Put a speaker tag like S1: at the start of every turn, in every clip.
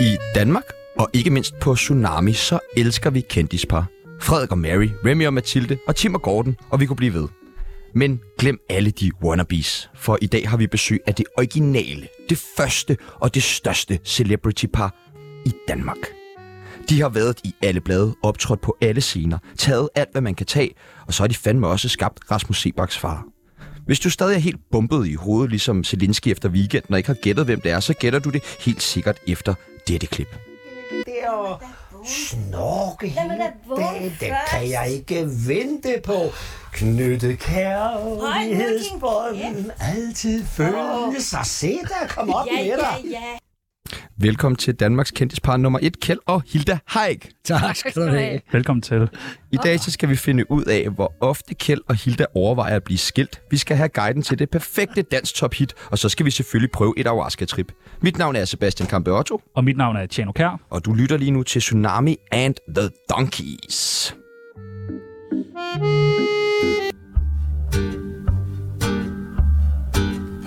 S1: I Danmark, og ikke mindst på Tsunami, så elsker vi kendispar. Frederik og Mary, Remy og Mathilde og Tim og Gordon, og vi kunne blive ved. Men glem alle de wannabes, for i dag har vi besøg af det originale, det første og det største celebrity-par i Danmark. De har været i alle blade, optrådt på alle scener, taget alt, hvad man kan tage, og så har de fandme også skabt Rasmus Sebaks far. Hvis du stadig er helt bumpet i hovedet, ligesom Zelinski efter weekenden, og ikke har gættet, hvem det er, så gætter du det helt sikkert efter dette klip.
S2: der og snorke
S3: Lad mig da
S2: hele
S3: vågne
S2: dagen. Det
S3: først.
S2: kan jeg ikke vente på. Knytte
S3: Hold nu
S2: kærlighedsbånden. Altid følge sig. Se der, kom op
S3: Ja,
S2: med
S3: ja,
S2: dig.
S3: ja.
S1: Velkommen til Danmarks kendispar nummer 1, Kjeld og Hilda Haik.
S4: Tak skal du have.
S5: Velkommen til.
S1: I dag så skal vi finde ud af, hvor ofte Kjeld og Hilda overvejer at blive skilt. Vi skal have guiden til det perfekte dansk top hit, og så skal vi selvfølgelig prøve et ayahuasca-trip. Mit navn er Sebastian Kampe Otto,
S5: Og mit navn er Tjano Kær.
S1: og du lytter lige nu til Tsunami and the Donkeys.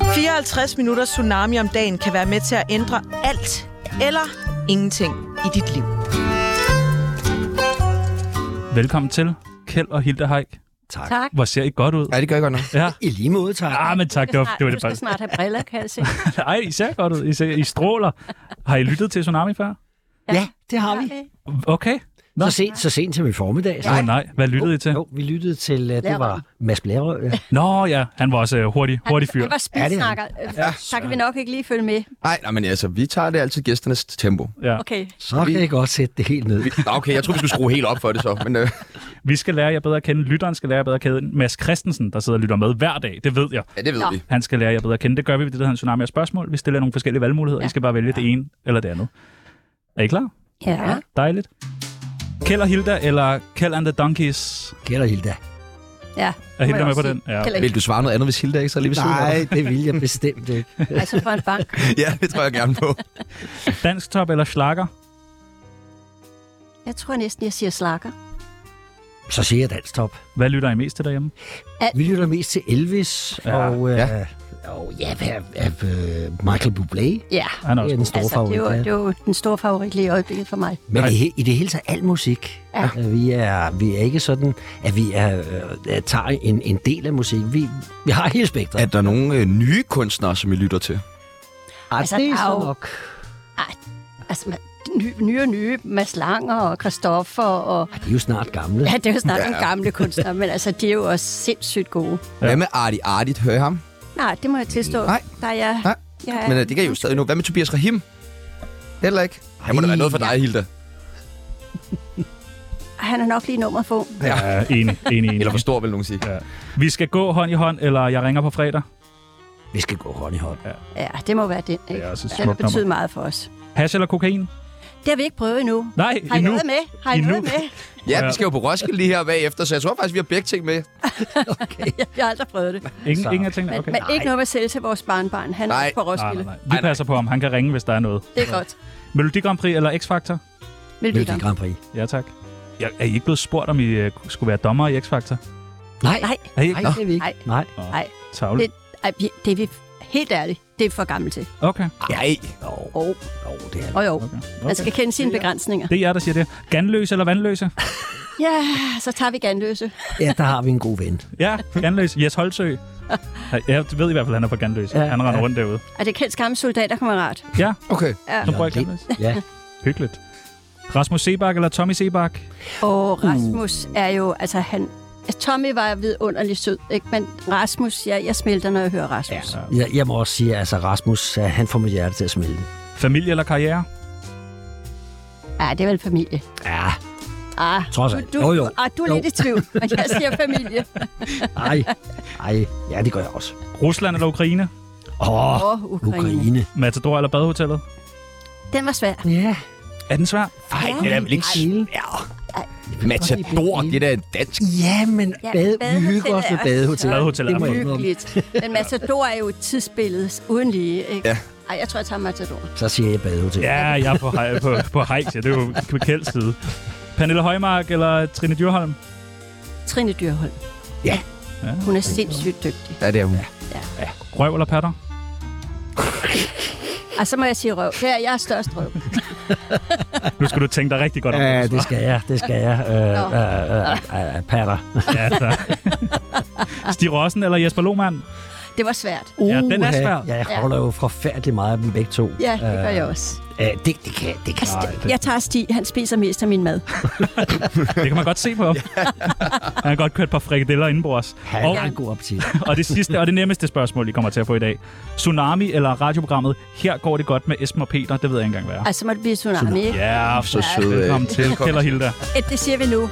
S6: Ej. 54 minutter tsunami om dagen kan være med til at ændre alt eller ingenting i dit liv.
S5: Velkommen til. Kjeld og Hilde Haik.
S4: Tak.
S7: Tak.
S5: Hvor ser I godt ud?
S1: Ja, det gør jeg godt nok.
S5: Ja.
S4: I lige måde, tak.
S5: Ah, men tak. Det var, det var det
S7: du skal
S5: faktisk.
S7: snart have briller, kan jeg se.
S5: Ej, I ser godt ud. I, ser, I stråler. Har I lyttet til Tsunami før?
S4: Ja, det har vi.
S5: Okay. Nå.
S4: Så sent, så sent som i formiddag.
S5: Nej. nej. Hvad lyttede I til?
S4: Jo, vi lyttede til, øh, det var Mads Blærø. Ja.
S5: Nå ja, han var også øh, hurtig, hurtig fyr.
S7: Han var spidsnakker. Ja, så kan vi nok ikke lige følge med.
S1: Nej, nej, men altså, vi tager det altid gæsternes tempo.
S5: Ja.
S7: Okay.
S4: Så kan jeg godt sætte det helt ned.
S1: Vi, Nå, okay, jeg tror, vi skulle skrue helt op for det så, men øh,
S5: Vi skal lære jer bedre at kende. Lytteren skal lære jer bedre at kende. Mads Christensen, der sidder og lytter med hver dag. Det ved jeg.
S1: ja, det ved
S7: Nå.
S1: vi.
S5: Han skal lære jer bedre at kende. Det gør vi ved det, der hedder en tsunami af spørgsmål. Vi stiller nogle forskellige valgmuligheder. Ja.
S7: Ja.
S5: I skal bare vælge det ene eller det andet. Er I klar?
S7: Ja.
S5: Dejligt. Kjeld og Hilda, eller Kjeld and the Donkeys?
S4: Gælder Hilda.
S7: Ja.
S5: Er
S7: Må jeg
S5: Hilda med
S7: også
S5: på den?
S7: sige.
S5: Ja.
S7: Heller
S1: Vil du svare noget andet, hvis Hilda ikke så lige ved siden af
S4: Nej, det vil jeg bestemt ikke.
S7: ikke. Altså for en bank.
S1: dig? Ja, det tror jeg gerne på.
S5: Dansk top eller slager?
S7: Jeg tror næsten, jeg siger slakker.
S4: Så siger jeg dansk top.
S5: Hvad lytter I mest til derhjemme?
S4: Vi lytter mest til Elvis
S5: Ja.
S4: ja. og, øh,
S1: Ja.
S4: ja. og ja, hvad, hvad, øh, Michael Bublé.
S7: Ja.
S5: Han er
S4: Det er
S5: også
S4: den store
S7: Altså,
S4: favorit.
S7: det, var,
S4: ja.
S7: det var den store favorit lige i øjeblikket for mig.
S4: Men i, he- i det hele taget al musik.
S7: Ja.
S4: Øh, Vi, er, vi er ikke sådan, at vi er, øh, øh, tager en, en del af musik. Vi, vi har hele spektret.
S1: Er der nogle øh, nye kunstnere, som I lytter til?
S4: Ah,
S7: altså,
S4: det er
S7: der er
S4: så
S7: jo-
S4: nok.
S7: Altså, man- ny, nye og nye. Mads Langer og Christoffer og...
S4: De er jo snart gamle.
S7: Ja, det er jo snart nogle gamle kunstnere, men altså, de er jo også sindssygt gode.
S1: Hvad med Artie Artie? Hører I ham?
S7: Nej, det må jeg tilstå.
S1: Nej.
S7: Der er jeg...
S1: Nej.
S7: jeg
S1: Men øh, det kan I jo stadig nu. Hvad med Tobias Rahim? Heller ikke. Han må da være noget for dig, Hilda.
S7: Han er nok lige nummeret for ung.
S5: Ja, enig, enig, enig.
S1: Eller for stor, vil nogen sige.
S5: Vi skal gå hånd i hånd, eller jeg ringer på fredag.
S4: Vi skal gå hånd i hånd.
S7: Ja, det må være den, ikke?
S5: Det er også et
S7: Den
S5: smukt
S7: betyder
S5: nummer.
S7: meget for os.
S5: Hash eller kokain?
S7: Det har vi ikke prøvet endnu.
S5: Nej,
S7: Har I
S5: endnu.
S7: noget med? Har I
S5: Endnu.
S7: noget med?
S1: Ja, vi skal jo på Roskilde lige her bagefter, så jeg tror faktisk, vi har begge ting med.
S7: Jeg har aldrig prøvet det.
S5: Ingen,
S4: Så-
S5: ingen af tingene?
S7: Men,
S5: Okay.
S7: men ikke noget med at sælge til vores barnbarn. Han
S1: Nej.
S7: er på
S5: Nej,
S7: Roskilde.
S5: nej, nej. Vi passer på ham. Han kan ringe, hvis der er noget.
S7: Det er godt.
S5: Melodi Grand Prix eller X-Factor?
S7: Melodi
S4: Melodi Grand Prix.
S5: Ja, tak. Jeg, er I ikke blevet spurgt, om I øh, skulle være dommer i X-Factor?
S4: Nej,
S7: Nej,
S4: nej,
S5: Er I ikke?
S4: det er vi
S7: Nej.
S4: ikke. Nej.
S5: Tavle.
S7: Det- ej, vi- det er vi helt ærligt. Det er for gammelt til.
S5: Okay.
S1: Nej.
S4: Jo,
S7: Og
S4: jo, det er
S7: oh, jo,
S5: okay.
S7: man
S5: okay.
S7: skal kende sine begrænsninger.
S5: Det er jer, der siger det. Ganløse eller vandløse?
S7: Ja, så tager vi Ganløse.
S4: Ja, der har vi en god ven.
S5: Ja, Ganløse. Jes Holtsø. Jeg ved i hvert fald, at han er fra Ganløse.
S4: Ja,
S5: Han render
S4: ja.
S5: rundt derude.
S7: Er det kendt skamme soldaterkammerat?
S5: Ja,
S1: Okay.
S5: så prøver jeg
S4: Jørgen
S5: Ganløse.
S4: Ja,
S5: Hyggeligt. Rasmus Sebak eller Tommy Sebak? Uh.
S7: Og Rasmus er jo, altså han... altså, Tommy var vidunderlig sød, ikke? Men Rasmus, ja, jeg smelter, når jeg hører
S4: ja.
S7: Rasmus.
S4: Jeg, jeg må også sige, at altså, Rasmus, øh, han får mit hjerte til at smelte.
S5: Familie eller karriere?
S7: Ja, det er vel familie.
S4: Ja,
S7: Ah,
S4: trods alt.
S7: du,
S4: Jo, jo.
S7: Ah, du er
S4: Jo.
S7: lidt i tvivl, men jeg siger familie.
S4: Ej, ej. Ja, det gør jeg også.
S5: Rusland eller Ukraine?
S4: Åh,
S7: Åh, oh, Ukraine. Ukraine.
S4: Ukraine.
S5: Matador eller Badehotellet?
S7: Den var svær.
S4: Ja.
S5: Er den svær?
S1: Ej, det er vel ikke svært. Matador, det er da en dansk.
S4: Ja, men
S7: Ja,
S4: bade, vi
S7: badehotellet
S4: hygger os
S7: er
S4: med
S7: også
S4: badehotellet.
S5: Badehotellet
S4: Det må
S5: er
S4: jeg indrømme.
S7: Hyggeligt. Men Matador er jo et tidsbillede uden lige, ikke?
S1: Ja.
S7: Ej, jeg tror, jeg tager Matador.
S4: Så siger jeg badehotellet.
S5: Ja, jeg er på, hej, på, på hejs, ja. Det er jo på Kjelds side. Pernille Højmark eller Trine Dyrholm?
S7: Trine Dyrholm.
S4: Ja.
S7: Hun er sindssygt dygtig.
S1: Ja, det er hun.
S5: Røv eller patter?
S7: Og så må jeg sige røv. Det er, jeg er størst røv.
S5: Nu skal du tænke dig rigtig godt om.
S4: Ja, det skal jeg, det skal jeg. Øh,
S7: Nå.
S4: øh, øh, øh, øh, patter.
S5: Ja, altså. Stig Rossen eller Jesper Lohmann?
S7: Det var svært.
S5: Ja, den er
S4: Uha,
S5: svær.
S4: Jeg holder jo forfærdelig meget af dem begge to.
S7: Ja, det gør jeg også.
S4: Øh, det, det kan det kan.
S7: Altså, det, jeg tager Stig. Han spiser mest af min mad.
S5: Det kan man godt se på. Han har godt kørt et par frikadeller indenbords.
S4: Han
S5: Og,
S4: har en god appetit.
S5: og det sidste og det nemmeste spørgsmål, I kommer til at få i dag. Tsunami eller radioprogrammet Her går det godt med Esben og Peter, det ved jeg ikke engang, hvad er.
S7: Altså, må det blive tsunami, ikke?
S5: Ja,
S1: Så søde.
S5: Velkommen til, Kjeld og Hilda.
S7: Et, Det siger vi nu.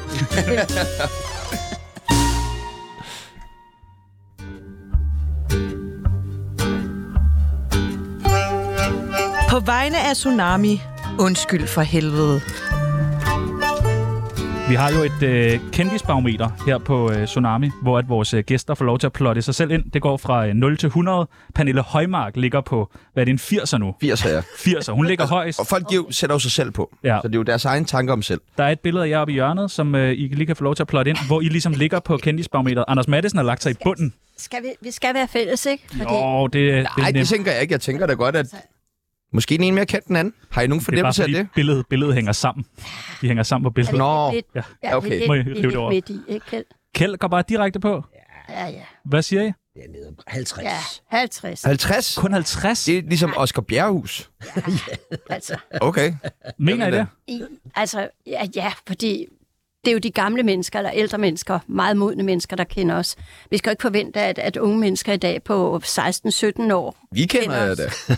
S6: På vegne af Tsunami, undskyld for helvede.
S5: Vi har jo et øh, kendisbarometer her på øh, Tsunami, hvor at vores øh, gæster får lov til at plotte sig selv ind. Det går fra øh, 0 til 100. Pernille Højmark ligger på, hvad er det, en 80'er nu?
S1: 80 her.
S5: 80'er. Hun ligger højst.
S1: Og folk giver, sætter jo sig selv på.
S5: Ja.
S1: Ja. Så det er jo deres egen tanker om selv.
S5: Der er et billede af jer oppe i hjørnet, som øh, I lige kan få lov til at plotte ind, hvor I ligesom ligger på kendisbarometeret. Anders Madsen har lagt sig i bunden.
S7: Skal vi, vi skal være fælles, ikke? Fordi,
S5: Åh, oh, det, det
S1: Nej,
S5: er
S1: det
S5: nemt.
S1: tænker jeg ikke. Jeg tænker da godt, at
S7: Altså-
S1: måske den ene mere kendt den anden. Har I nogen
S5: Det er bare
S1: fornemmelse af
S5: fordi
S1: det?
S5: billedet, billedet hænger sammen. De hænger sammen på billedet.
S1: Nå,
S7: lidt,
S5: ja.
S7: ja,
S1: Okay.
S7: Vi,
S5: Må
S7: er
S5: jeg
S7: lidt, vi er
S5: rive det over?
S7: lidt midt i, ikke? Kjeld?
S5: Kjeld går bare direkte på.
S7: Ja, ja.
S5: Hvad siger I?
S4: Det er nede på 50.
S7: Ja, 50.
S1: 50?
S5: Kun 50?
S1: Det er ligesom Oscar Bjerghus.
S7: Altså,
S1: Okay.
S5: Mener I det?
S7: i, altså ja, ja, fordi det er jo de gamle mennesker, eller ældre mennesker, meget modne mennesker, der kender os. Vi skal jo ikke forvente, at, at unge mennesker i dag på 16-17 år,
S1: Vi kender
S7: Kender
S1: jer
S7: os.
S1: da.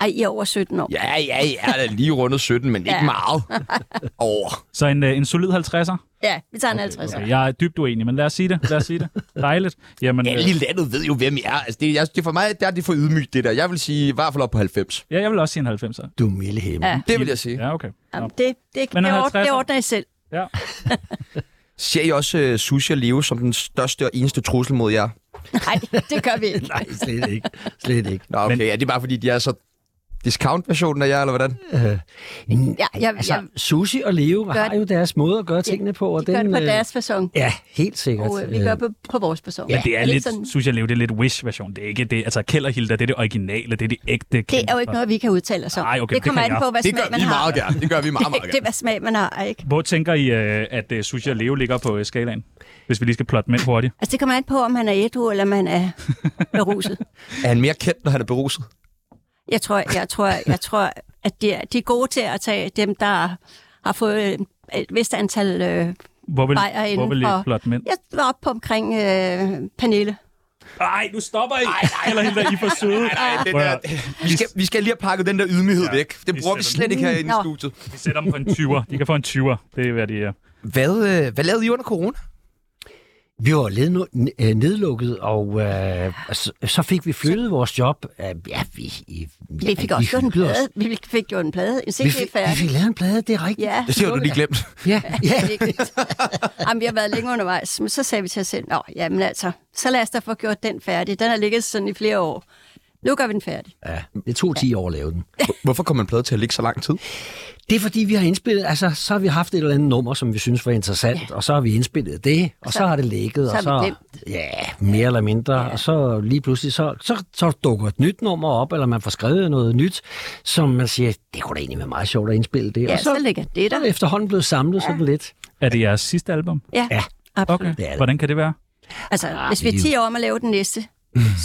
S7: ej, I er over 17 år.
S1: Ja, ja, ja. Jeg er lige rundet 17, men ikke
S7: Ja.
S1: meget. Over.
S5: Så en, øh, en solid 50'er?
S7: Ja, vi tager en 50.
S5: Okay, jeg er dybt uenig, men lad os sige det. Lad os sige det. Dejligt. Jamen, øh,
S1: Alle i landet ved jo, hvem jeg er. Altså, det, jeg, det er for mig, der er det for ydmygt, det der. Jeg vil sige i hvert fald op på 90.
S5: ja, jeg vil også sige en 90'er.
S4: Du er milde himmel.
S7: Ja.
S1: Det vil jeg sige. Ja.
S5: Ja, okay. Nå.
S7: Jamen, det, det,
S5: Men
S7: det,
S5: en
S7: ordner,
S5: 50'er?
S7: det ordner I selv.
S5: Ja.
S1: Ser I også uh, sushi og leve som den største og eneste trussel mod jer?
S7: Nej, det gør vi ikke.
S4: Nej, slet ikke. Slet ikke.
S1: Nå, okay. Men... Er det bare, fordi de er så discount-versionen af jer, eller hvordan?
S7: Altså, Ja, jeg,
S4: Altså,
S7: jeg
S4: Susi og Leo gør, har jo deres måde at gøre tingene på. Og
S7: de gør
S4: den,
S7: det på
S4: øh,
S7: deres façon,
S4: Ja, helt sikkert.
S7: og øh, vi gør på, på vores façon.
S5: Men det er
S7: ikke
S5: lidt,
S7: sådan-
S5: synes jeg, Leo, det er lidt Wish-version. Det er ikke det. Altså, Kjeld og Hilda, det er det originale. Det er det ægte.
S7: Det er jo ikke noget, vi kan udtale os om.
S5: Nej, okay,
S7: det
S5: det
S7: kommer
S5: kan
S7: an på, hvad
S1: Det
S7: smag
S1: gør
S7: man
S1: vi
S7: har.
S1: meget gerne. Det gør vi meget, meget
S7: Det, det er,
S1: gerne.
S7: hvad smag man har, ikke?
S5: Hvor tænker I, øh, at øh, Sushi og Leo ligger på øh, skalaen? Hvis vi lige skal plotte dem ind hurtigt.
S7: Altså, det kommer an på, om han er ædru, eller om han er beruset.
S1: Er han mere kendt, når han er beruset?
S7: Jeg tror, jeg tror, jeg tror at de er, de er gode til at tage dem, der har fået øh, et vist antal... Øh,
S5: Hvor vil,
S7: Bajer
S5: hvor vil I
S7: indenfor.
S5: plotte dem ind?
S7: jeg var oppe på omkring øh, Pernille.
S5: Nej, nu stopper I. Nej, eller Hilda, I er for søde.
S1: Ej, den
S5: Prøv at
S1: der,
S5: høre.
S1: vi, skal, vi skal lige have pakket den der ydmyghed
S5: Ja,
S1: ja, væk. Det
S5: vi
S1: bruger vi
S5: sætter
S1: slet
S5: den.
S1: ikke herinde i
S7: Nå.
S1: studiet.
S5: Vi sætter dem på en 20'er. De kan få en 20'er. Det er, hvad de er.
S1: Hvad, øh, hvad lavede I under corona?
S4: Vi var lidt nu- n- øh, nedlukket, og øh, så, så fik vi flyttet vores job. Øh, ja, vi, i, ja,
S7: Vi fik også gjort en
S4: hyggede os.
S7: plade. Vi fik gjort en plade. En
S4: Vi
S7: CD
S4: fik, vi
S7: færdig.
S4: fik lavet en plade, det er rigtigt.
S7: Ja,
S1: Det har du lige glemt.
S4: ja. ja.
S7: Vigtigt. Jamen, vi har været længe undervejs, men så sagde vi til os selv, Nå, jamen altså, så lad os da få gjort den færdig. Den har ligget sådan i flere år. Nu gør vi den færdig.
S4: ja. Det tog 10 år at lave den.
S1: Hvorfor kom en plade til at ligge så lang tid?
S4: Det er fordi, vi har indspillet, altså så har vi haft et eller andet nummer, som vi synes var interessant, ja. og så har vi indspillet det, og så, så har det ligget,
S7: så
S4: og
S7: har vi
S4: så, ja, mere eller mindre, ja. og så lige pludselig, så, så, så dukker et nyt nummer op, eller man får skrevet noget nyt, som man siger, det kunne da egentlig være meget sjovt at indspille det,
S7: Ja,
S4: og
S7: så, ligger det
S4: så
S7: der.
S4: er det efterhånden blevet samlet ja. sådan lidt.
S5: Er det jeres sidste album?
S7: Ja,
S4: Ja.
S7: absolut.
S5: Okay.
S4: Det er det.
S5: Hvordan kan det være?
S7: Altså, hvis vi er 10 år om at lave den næste,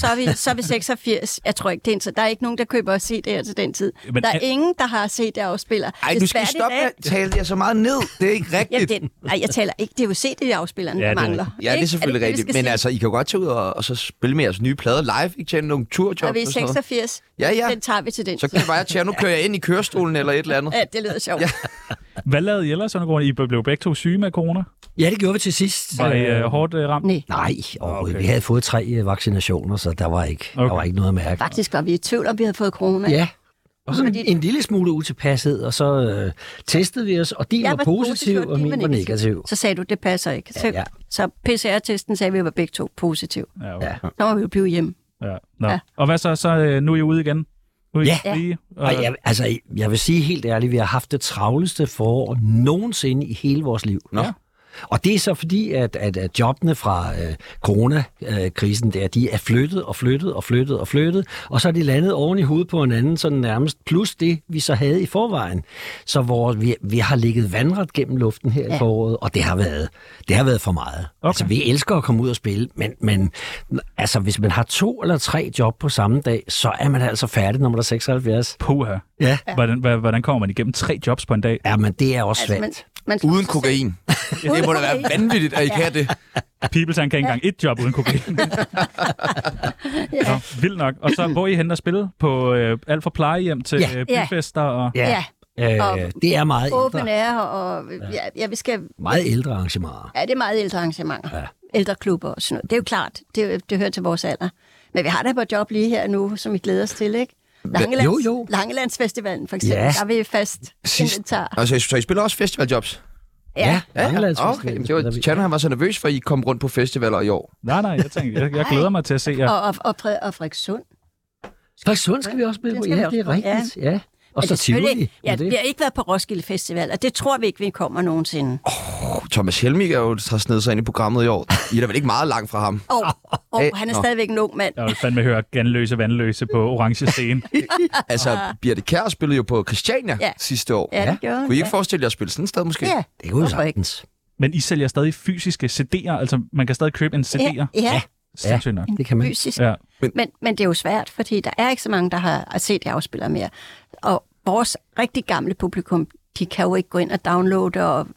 S7: så er vi, så er vi 86. Jeg tror ikke, det er en, så der er ikke nogen, der køber CD'er til den tid.
S5: Men
S7: Men, der er
S5: er-
S7: ingen, der har CD-afspiller.
S1: Ej, du skal stoppe med at tale jer så meget ned. Det er ikke
S7: Jamen,
S1: rigtigt.
S7: det, nej, jeg taler ikke. Det er jo CD-afspilleren,
S5: Ja,
S7: ja, der
S5: det er
S7: mangler.
S1: Ja, det er
S7: Ikke?
S1: selvfølgelig
S7: det,
S1: er
S7: vi
S1: det, rigtigt.
S7: skal
S1: Men
S7: sige?
S1: altså, I kan jo godt tage ud og, og så spille med jeres nye plade live. Ikke tjene nogle turjob
S7: Og vi er
S1: og sådan noget.
S7: 86.
S1: Ja, ja.
S7: Den tager vi til den
S1: Så kan
S7: tid.
S1: det bare tjene, nu kører jeg ind i kørestolen eller et eller andet.
S7: Ja, det lyder sjovt. Ja.
S5: Hvad lavede I ellers under corona? I blev begge to syge med corona.
S4: Ja, det gjorde vi til sidst.
S5: Var I øh, hårdt øh, ramt?
S7: Nej.
S4: Nej, overhovedet.
S5: Okay.
S4: Okay. Vi havde fået tre øh, vaccinationer, så der var ikke, okay. der
S5: Okay.
S4: var ikke noget at mærke.
S7: Faktisk var vi i tvivl, om vi havde fået corona.
S4: Ja. Og sådan
S7: Fordi-
S4: en lille smule utilpashed, og så øh, testede vi os, og din var, positiv, og
S7: din
S4: min var negativ.
S7: Så sagde du, det passer ikke. Så,
S4: ja.
S7: ja. så PCR-testen sagde, at vi var begge to positiv.
S5: Ja, okay.
S7: Så må vi jo blive hjemme.
S5: ja. Nå.
S7: Ja.
S5: Og hvad så? Så øh, nu er I ude igen? Nu er I
S4: Ja.
S5: frie, og,
S4: Og jeg, altså, jeg vil sige helt ærligt, vi har haft det travleste forår nogensinde i hele vores liv.
S1: Nå.
S4: Og det er så fordi, at, at, at jobbene fra øh, coronakrisen der, de er flyttet og flyttet og flyttet og flyttet, og så er de landet oven i hovedet på hinanden, sådan nærmest plus det, vi så havde i forvejen. Så hvor vi, vi har ligget vandret gennem luften her ja. i foråret, og det har været, det har været for meget. Okay. Altså, vi elsker at komme ud og spille, men, men altså, hvis man har to eller tre job på samme dag, så er man altså færdig, når man er 76.
S5: Puha.
S4: Ja.
S5: Hvordan, hva- hvordan kommer man igennem tre jobs på en dag?
S4: Ja, men det er også
S7: Altså,
S4: svært.
S7: man, man slår
S3: Uden
S7: sig
S3: kokain. Det må da være
S7: kokain.
S3: vanvittigt, at I kan det.
S5: Peoples, han kan ikke engang et job uden kokain. ja. Nå, vildt nok. Og så, hvor er I henne og spille? På øh, alt fra plejehjem til
S4: Ja.
S5: øh,
S7: Ja.
S5: byfester? Og...
S7: selv. Ja, Og-
S4: Øh, det er meget
S7: åben
S4: ældre,
S7: ære, og ja, ja, vi skal
S4: meget ældre arrangementer.
S7: Ja, det er meget ældre arrangementer. Ja. Ældreklubber og sådan noget. Det er jo klart, det, det hører til vores alder. Men vi har da på et job lige her nu, som vi glæder os til, ikke? Langelands,
S4: Jo, jo.
S7: Langelandsfestivalen for eksempel,
S4: Ja.
S7: ja. der er vi fast
S1: Sidst-
S7: inventar.
S1: Altså, så I spiller også festivaljobs?
S7: Ja.
S4: Langelandsfestivalen
S1: okay. Men Det var,
S4: spiller vi.
S1: Tjerno, han var så nervøs for, at I kom rundt på festivaler i år.
S5: Nej, nej, jeg, tænker, jeg, jeg glæder mig til at se jer.
S7: Og, og, og, Fred, og Frederikssund.
S4: Frederikssund skal vi også spille
S7: Den
S4: på.
S7: skal vi
S4: Ja,
S7: også
S4: det er
S7: på, ja.
S4: rigtigt. Ja. Og
S7: Men
S4: så
S7: selvfølgelig-
S4: Tivoli.
S7: Ja,
S4: men det-
S7: vi har ikke været på Roskilde Festival, og det tror vi ikke, vi kommer nogensinde.
S1: Oh, Thomas Helmig er jo, har snedet sig ind i programmet i år. I er da vel ikke meget langt fra ham?
S7: Og, og
S1: Æ,
S7: han er
S1: nå.
S7: stadigvæk en ung mand.
S5: Jeg vil fandme høre ganløse vandløse på orange scene.
S1: Altså, Birte Kjær spillede jo på Christiania ja.
S7: Ja.
S1: sidste år.
S7: Ja, det gjorde han.
S1: Kunne I ikke forestille jer at spille sådan et sted, måske?
S7: Ja,
S4: Det kunne jo
S7: Hvorfor ikke?
S4: sagtens.
S5: Men I sælger stadig fysiske CD'er, altså man kan stadig købe en
S7: ja,
S5: CD'er.
S7: ja,
S5: Sindssygt nok.
S4: Det kan man.
S7: fysisk.
S5: Ja.
S7: Men, men det er jo svært, fordi der er ikke så mange, der har set afspillere mere. Og vores rigtig gamle publikum, de kan jo ikke gå ind og downloade og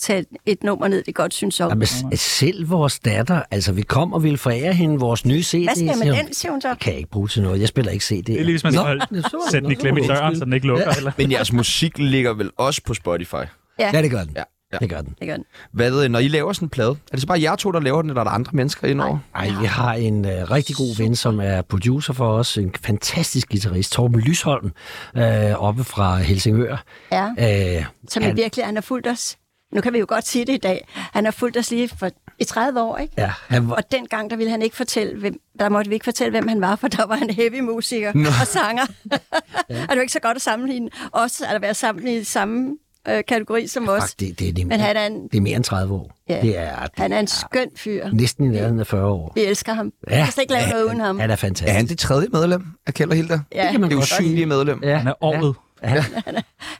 S7: tage et nummer ned, de godt synes om.
S4: Jamen, s- selv vores datter, altså vi kom og ville forære hende vores nye CD.
S7: Hvad skal jeg
S4: siger
S7: med
S4: hun,
S7: den, siger hun så?
S4: Det kan jeg ikke bruge til noget. Jeg spiller ikke CD.
S5: Det er lige, hvis man skal holde, sætte den i klemme i døren, så den ikke lukker. Eller?
S1: Men jeres musik ligger vel også på Spotify?
S4: Ja, det gør den.
S1: Ja, ja.
S4: Det gør den.
S7: Det gør den.
S1: Hvad, øh, når I laver sådan en plade, er det så bare jer to, der laver den, eller er der andre mennesker indover?
S4: Ej, vi har en øh, rigtig god ven, som er producer for os. En fantastisk guitarist, Torben Lysholm, øh, oppe fra Helsingør.
S7: Ja,
S4: Øh,
S7: som han... virkelig, han har fulgt os. Nu kan vi jo godt sige det i dag. Han har fulgt os lige for i 30 år, ikke?
S4: ja, han var,
S7: Og dengang, der ville han ikke fortælle, hvem, der måtte vi ikke fortælle, hvem han var, for der var han heavy musiker Nå. og sanger. er det jo ikke så godt at sammenligne os, eller være sammen i samme øh, kategori som os?
S4: fuck, det, det, er det,
S7: Men han er en-
S4: det er mere end 30 år.
S7: Ja.
S4: Det er, det
S7: Han er en skøn fyr.
S4: er næsten i nærheden af 40 år.
S7: Vi elsker ham. Ja. Vi kan slet ikke lave
S4: ja,
S7: noget uden ham.
S4: Han er
S1: Er
S4: fantastisk.
S1: han det tredje medlem af Kjeld og Hilda?
S7: Ja,
S4: kan man
S1: Det
S4: godt
S1: usynlige medlem.
S4: Ja,
S5: Han er året.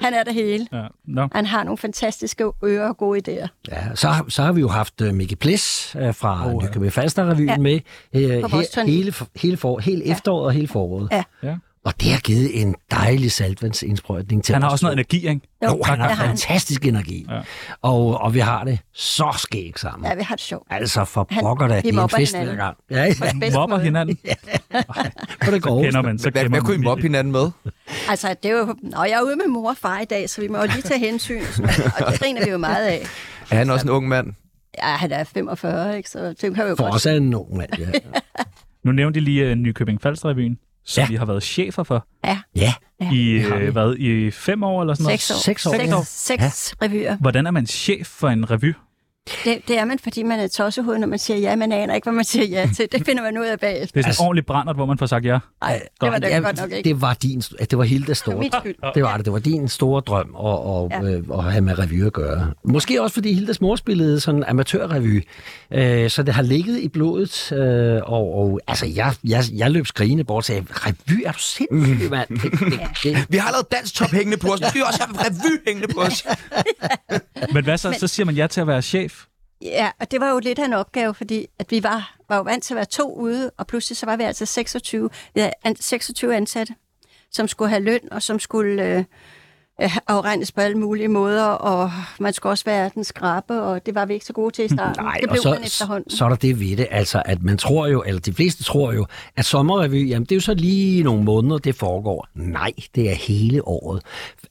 S7: han er det hele.
S5: Ja. Nå.
S7: Han har nogle fantastiske ører og gode idéer.
S4: Ja, så, har- så har vi jo haft uh, Mikke Ples uh, fra oh, Nykøbing Falster-revyen ja.
S7: Ja.
S4: med uh,
S7: På vores
S4: her,
S7: turné.
S4: hele, for- hele, for, hele ja. efteråret og hele foråret.
S7: Ja.
S5: Ja.
S4: Og det har givet en dejlig saltvandsindsprøjtning til
S5: Han har
S4: os
S5: også noget
S4: to.
S5: energi, ikke?
S4: Jo,
S7: Jo,
S4: han
S7: det
S4: har
S7: har han.
S4: fantastisk energi. Ja. Og, og vi har det så skægt sammen.
S7: Ja,
S4: Ja.
S7: vi har det sjovt.
S4: Altså for
S7: Han-
S4: pokker da,
S7: vi
S4: det er en
S7: mobber
S4: fest hver
S7: hinanden.
S4: gang. Ja, ja,
S7: Bedst
S5: Mobber
S7: måde.
S5: hinanden.
S4: på det går.
S5: Kender man, så
S1: Hvad,
S5: glemmer
S1: hvad kunne I
S5: man
S1: mobbe
S5: virkelig.
S1: hinanden med?
S7: Altså, det er jo... Nå, jeg er ude med mor og far i dag, så vi må jo lige tage hensyn. og sådan noget. Og det griner vi jo meget af.
S1: Er han også en ung mand?
S7: Ja, han er 45, ikke? Så det kan vi jo
S4: For
S7: godt.
S4: os er han nogen mand, ja.
S5: Nu nævnte I lige uh, Nykøbing Falster-revyen, som
S4: Ja.
S5: ja. I har været chefer for
S7: Ja,
S4: ja.
S5: i,
S4: har vi.
S5: uh, hvad, i fem år eller sådan noget.
S7: seks år.
S4: Seks år,
S7: Seks,
S4: ja.
S7: seks revyer.
S5: Hvordan er man chef for en revy?
S7: Det, det, er man, fordi man er tossehoved, når man siger ja. Man aner ikke, hvad man siger ja til. Det finder man ud af bagefter.
S5: Det er sådan
S4: Altså-
S5: altså, ordentligt brændert, hvor man får sagt ja.
S7: Nej, det var da
S4: Ja,
S7: godt nok ikke.
S4: det var din, det var hele det
S7: Det var
S4: store
S7: mit skyld.
S4: Det var det. Det var din store drøm at, at, ja.
S7: Ja.
S4: øh, at have med revy at gøre. Måske også fordi Hildas mor spillede sådan amatørrevy. Øh, så det har ligget i blodet. Øh, og, og altså, jeg, jeg, jeg løb skrigende bort og sagde, revy, er du sindssyg, mand? Det, det, det,
S1: Vi har lavet dansk top hængende på os. Nu skal vi også have revy hængende på os.
S5: Men hvad så? Så siger man ja til at være chef.
S7: Ja, og det var jo lidt af en opgave, fordi at vi var, var jo vant til at være to ude, og pludselig så var vi altså 26, vi havde an- 26 ansatte, som skulle have løn, og som skulle øh, øh, afregnes på alle mulige måder, og man skulle også være den skrabe, og det var vi ikke så gode til i starten.
S4: nej,
S7: det
S4: og
S7: blev
S4: så,
S7: man efterhånden.
S4: så er der det ved det, altså, at man tror jo, eller de fleste tror jo, at sommerrevy, jamen det er jo så lige nogle måneder, det foregår. Nej, det er hele året.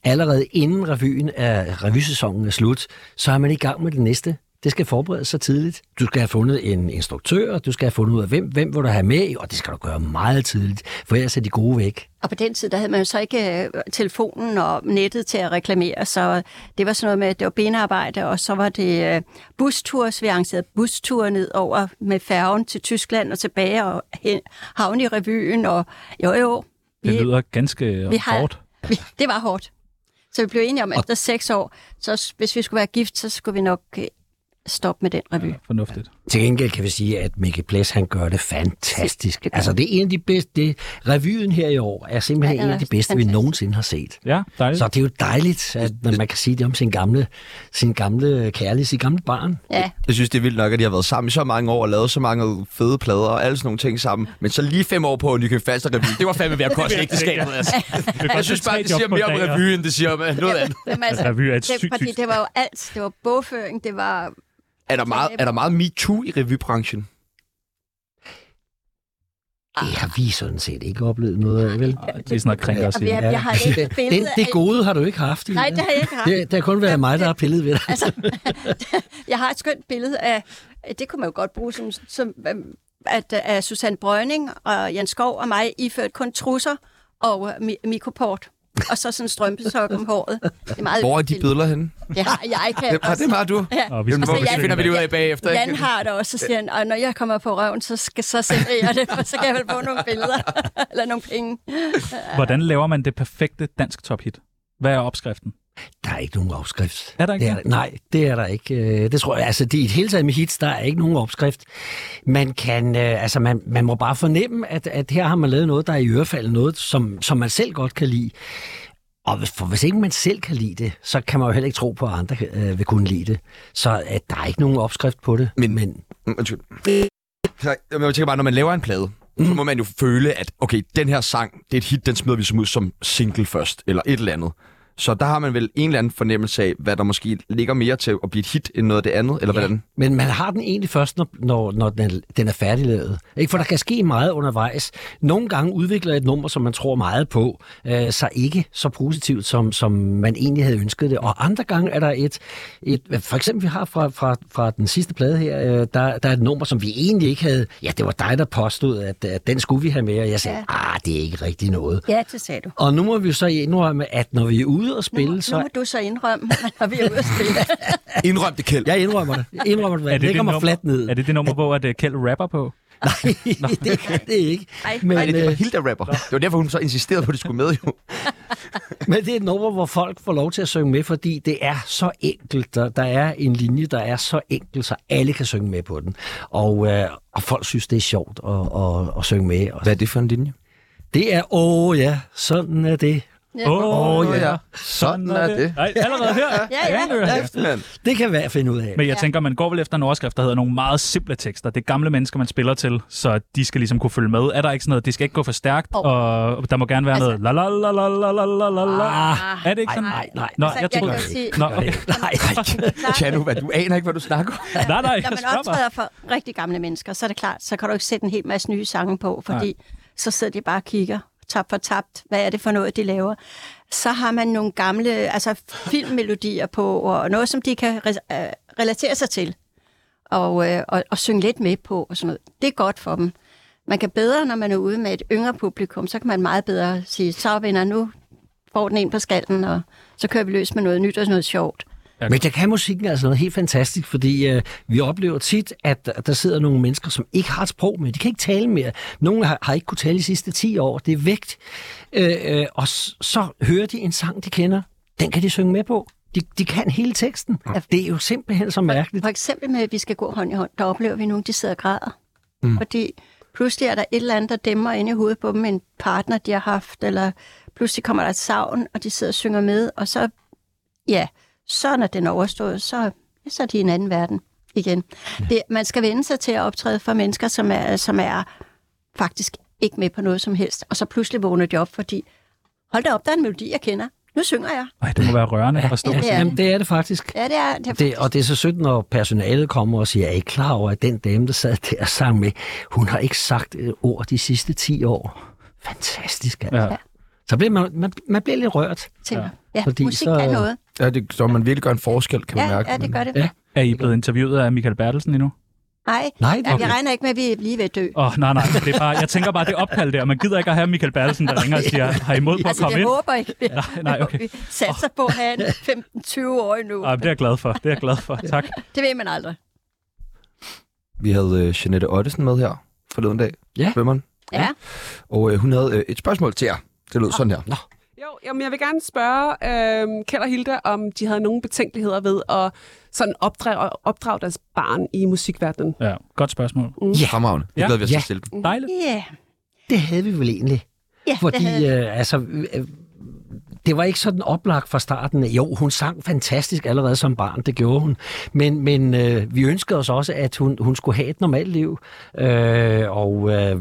S4: Allerede inden revyen er, revysæsonen er slut, så er man i gang med det næste. Det skal forberedes så tidligt. Du skal have fundet en instruktør, du skal have fundet ud af, hvem, hvem vil du have med, og det skal du gøre meget tidligt, for ellers er de gode væk.
S7: Og på den tid, der havde man jo så ikke øh, telefonen og nettet til at reklamere, så det var sådan noget med, at det var benarbejde, og så var det øh, busture, så vi arrangerede busture ned over med færgen til Tyskland og tilbage og hen, havne i revyen, og jo jo,
S5: Det
S7: vi,
S5: lyder ganske
S7: vi har-
S5: hårdt.
S7: vi, det var hårdt. Så vi blev enige om, at efter seks år, så s- hvis vi skulle være gift, så skulle vi nok øh, stoppe med den revy.
S5: Fornuftigt.
S4: Til gengæld kan vi sige, at Mikke Ples, han gør det fantastisk.
S7: Det gør
S4: Altså, det er en af de bedste. Det, revyen her i år er simpelthen
S7: Ja,
S4: en
S7: den
S4: af de
S7: er
S4: bedste, vi
S7: fantastisk.
S4: nogensinde har set.
S5: Ja, dejligt.
S4: Så det er jo dejligt, at man man kan sige det om sin gamle, sin gamle kærlighed, sin gamle barn.
S7: Ja,
S1: Jeg synes, det er vildt nok, at de har været sammen i så mange år og lavet så mange fede plader og alle sådan nogle ting sammen. Men så lige fem år på Nykøb Falster Revy, det var fandme ved at koste ægteskabet. Altså. Jeg synes bare, det siger mere om revy, end det siger om øh, noget andet.
S7: Jamen, altså,
S5: Revy er et
S7: det,
S5: sygt,
S7: fordi
S5: sygt.
S7: det var jo alt. Det var bogføring, det var...
S1: Er der meget, er der meget MeToo i revybranchen?
S7: Ah.
S4: Det har vi sådan set ikke oplevet noget af, vel?
S5: Det er sådan noget kring at
S7: Og vi
S5: sige.
S7: har, jeg har ikke et
S4: Den,
S7: billede
S4: det gode har du ikke haft.
S7: Nej,
S4: Ina.
S7: det har jeg ikke haft.
S4: Det, det har kun været mig, der har pillet ved dig.
S7: Altså, jeg har et skønt billede af, det kunne man jo godt bruge som, som øhm, at, øh, af Susanne Brønning og Jens Skov og mig iført kun trusser og øh, mi- mikroport. Og så sådan en strømpesok om håret. Det er meget
S1: Hvor er de billeder henne?
S7: Det har jeg kan
S1: Dem, har, dem har du.
S7: Ja.
S5: Og vi
S1: Dem
S5: skal
S7: så
S1: må vi-
S7: jeg-
S1: finder vi lige ud af bagefter.
S7: Jan
S1: Ikke?
S7: har det også, så siger han, og når jeg kommer på røven, så, skal, så sender jeg det, for så kan jeg vel få nogle billeder, eller nogle penge.
S5: Hvordan laver man det perfekte dansk tophit? Hvad er opskriften?
S4: Der er ikke nogen opskrift.
S5: Er der ikke
S4: det er,
S5: det?
S4: Nej, det er der ikke. Øh, Det tror jeg. Altså, det, i det hele taget med hits, der er ikke nogen opskrift. Man, kan, øh, altså, man, man må bare fornemme, at, at her har man lavet noget, der er i ørefaldet noget, som, som man selv godt kan lide. Og hvis, for hvis ikke man selv kan lide det, så kan man jo heller ikke tro på, at andre øh, vil kunne lide det. Så at der er ikke nogen opskrift på det.
S1: Men-
S4: men
S1: Mm, Undskyld. Så, jamen, Jeg tænker bare, når man laver en plade, så må man jo føle, at okay, den her sang, det er et hit, den smider vi som ud som single først, eller et eller andet. Så der har man vel en eller anden fornemmelse af, hvad der måske ligger mere til at blive et hit, end noget af det andet, eller ja. hvordan?
S4: Men man har den egentlig først, når, når, når den, er, den er færdiglavet. Ikke? For der kan ske meget undervejs. Nogle gange udvikler et nummer, som man tror meget på, øh, sig ikke så positivt, som, som man egentlig havde ønsket det. Og andre gange er der et... et for eksempel, vi har fra, fra, fra den sidste plade her, øh, der, der er et nummer, som vi egentlig ikke havde... Ja, det var dig, der påstod, at, at den skulle vi have med, og jeg sagde,
S7: Ja.
S4: ah, det er ikke rigtig noget.
S7: Ja, det sagde du.
S4: Og nu må vi jo så indrømme, at når vi er ude og
S7: Nu,
S4: spille,
S7: må-
S4: så...
S7: nu må du så indrømme, når vi er ude at spille.
S1: Indrøm det, Kjeld.
S4: Jeg indrømmer det. Jeg indrømmer det. Jeg lægger mig
S5: nummer,
S4: fladt ned.
S5: er det det nummer, hvor at, øh, Kjeld rapper på?
S4: Nej, det er det ikke.
S7: Ej,
S4: Men,
S1: Nej, det var
S4: øh,
S1: Hilda rapper. Det var derfor, hun så insisterede på, at det skulle med jo.
S4: men det er et nummer, hvor folk får lov til at synge med, fordi det er så enkelt. Der, der er en linje, der er så enkel, så alle kan synge med på den. Og, øh, og folk synes, det er sjovt at, at, at synge med. Og
S1: Hvad er det for en linje?
S4: det er, åh ja, sådan er det.
S7: Ja.
S4: Åh oh, ja.
S1: Sådan er det.
S5: Nej, allerede her.
S7: Ja, ja.
S5: det er-
S1: Kæft, mand.
S4: Det kan hver finde ud af.
S5: Men jeg tænker, man går vel efter en overskrift, der hedder nogle meget simple tekster. Det er gamle mennesker, man spiller til, så de skal ligesom kunne følge med. Er der ikke sådan noget, de skal ikke gå for stærkt,
S7: Jo.
S5: og der må gerne være
S7: Altså-
S5: noget la la la la la la la la la.
S4: Ah,
S5: Er det ikke
S4: nej,
S5: sådan?
S4: nej, nej.
S5: Nå,
S7: Altså,
S5: jeg
S7: jeg
S5: troede...
S7: kan jo sige-
S5: Nå,
S4: Gør det
S5: okay.
S4: ikke. Nej, nej.
S1: Tjano, hvad, du aner ikke, hvad du snakker om.
S5: Nej, nej,
S7: Når
S5: jeg
S7: man
S5: spørger bare.
S7: optræder for rigtig gamle mennesker, så er det klart, så kan du ikke sætte en hel masse nye sange på, fordi så sidder de bare og kigger tabt for tabt, hvad er det for noget, de laver. Så har man nogle gamle altså filmmelodier på, og noget, som de kan re- øh, relatere sig til, og, øh, og, og synge lidt med på, og sådan noget. Det er godt for dem. Man kan bedre, når man er ude med et yngre publikum, så kan man meget bedre sige, så venner, nu får den en på skallen, og så kører vi løs med noget nyt og sådan noget sjovt.
S4: Men der kan musikken altså noget helt fantastisk, fordi øh, vi oplever tit, at der- der sidder nogle mennesker, som ikke har et sprog med. De kan ikke tale mere. Nogle har, har ikke kunnet tale de sidste 10 år. Det er vægt. Øh, øh, og s- så hører de en sang, de kender. Den kan de synge med på. De, de kan hele teksten. Det er jo simpelthen så mærkeligt.
S7: For eksempel med, at vi skal gå hånd i hånd, der oplever vi nogen, de sidder og græder. Mm. Fordi pludselig er der et eller andet, der dæmmer ind i hovedet på dem, en partner, de har haft, eller pludselig kommer der et savn, og de sidder og synger med, og så, ja, så når den er overstået, så, så er de i en anden verden igen. Det, man skal vende sig til at optræde for mennesker, som er, som er faktisk ikke med på noget som helst, og så pludselig vågner de op, fordi hold da op, der er en melodi, jeg kender. Nu synger jeg.
S5: Ej, det må være rørende at stå
S7: Ja.
S5: på.
S7: det
S4: Altså,
S7: er
S4: Jamen, det er det faktisk.
S7: Ja, det er, det er
S4: Det, og det er så sødt, når personalet kommer og siger, er I klar over, at den dame, der sad der og sang med, hun har ikke sagt et ord de sidste 10 år. Fantastisk, altså.
S5: Ja.
S4: Så bliver man, man, man bliver lidt rørt.
S7: tænker, ja,
S4: Fordi
S7: musik
S4: så-
S7: er noget.
S1: Ja, det, så man virkelig gør en forskel, kan
S7: Ja, ja, det gør det.
S5: Er I blevet interviewet af Michael Bertelsen endnu?
S7: Nej,
S4: Nej,
S7: Ja,
S4: okay.
S7: jeg regner ikke med, at vi er lige ved at dø.
S5: Åh, oh, nej, nej. Det er bare, jeg tænker bare, det opkald der. Man gider ikke at have Michael Bertelsen, der ringer og siger, har I mod på at
S7: Altså,
S5: komme
S7: jeg
S5: ind?
S7: håber ikke, vi,
S5: Nej, nej, okay.
S7: vi satser på at have en 15-20 år endnu.
S5: Ej, men det er jeg glad for. Det er jeg glad for. Tak.
S7: Det ved man aldrig.
S1: Vi havde øh, Jeanette Ottesen med her forleden dag.
S4: Ja.
S1: Svømmeren.
S7: Ja.
S1: Og øh, hun havde øh, et spørgsmål til jer. Det lød sådan her.
S4: Ah. Nå.
S8: Jo, Jamen, jeg vil gerne spørge øh, Kjeld og Hilda, om de havde nogle betænkeligheder ved at sådan opdrage, opdrage deres barn i musikverdenen.
S5: Ja, godt spørgsmål.
S1: Ja. Fremragende. Det
S5: Ja.
S1: glæder vi os til
S4: Ja.
S1: at stille dem.
S5: Dejligt.
S7: Ja,
S4: Det havde vi vel egentlig.
S7: ja det havde
S4: Fordi,
S7: jeg.
S4: øh, altså, øh, det var ikke sådan oplagt fra starten. Jo, hun sang fantastisk allerede som barn, det gjorde hun. Men, men øh, vi ønskede os også, at hun, hun skulle have et normalt liv. Øh, og øh,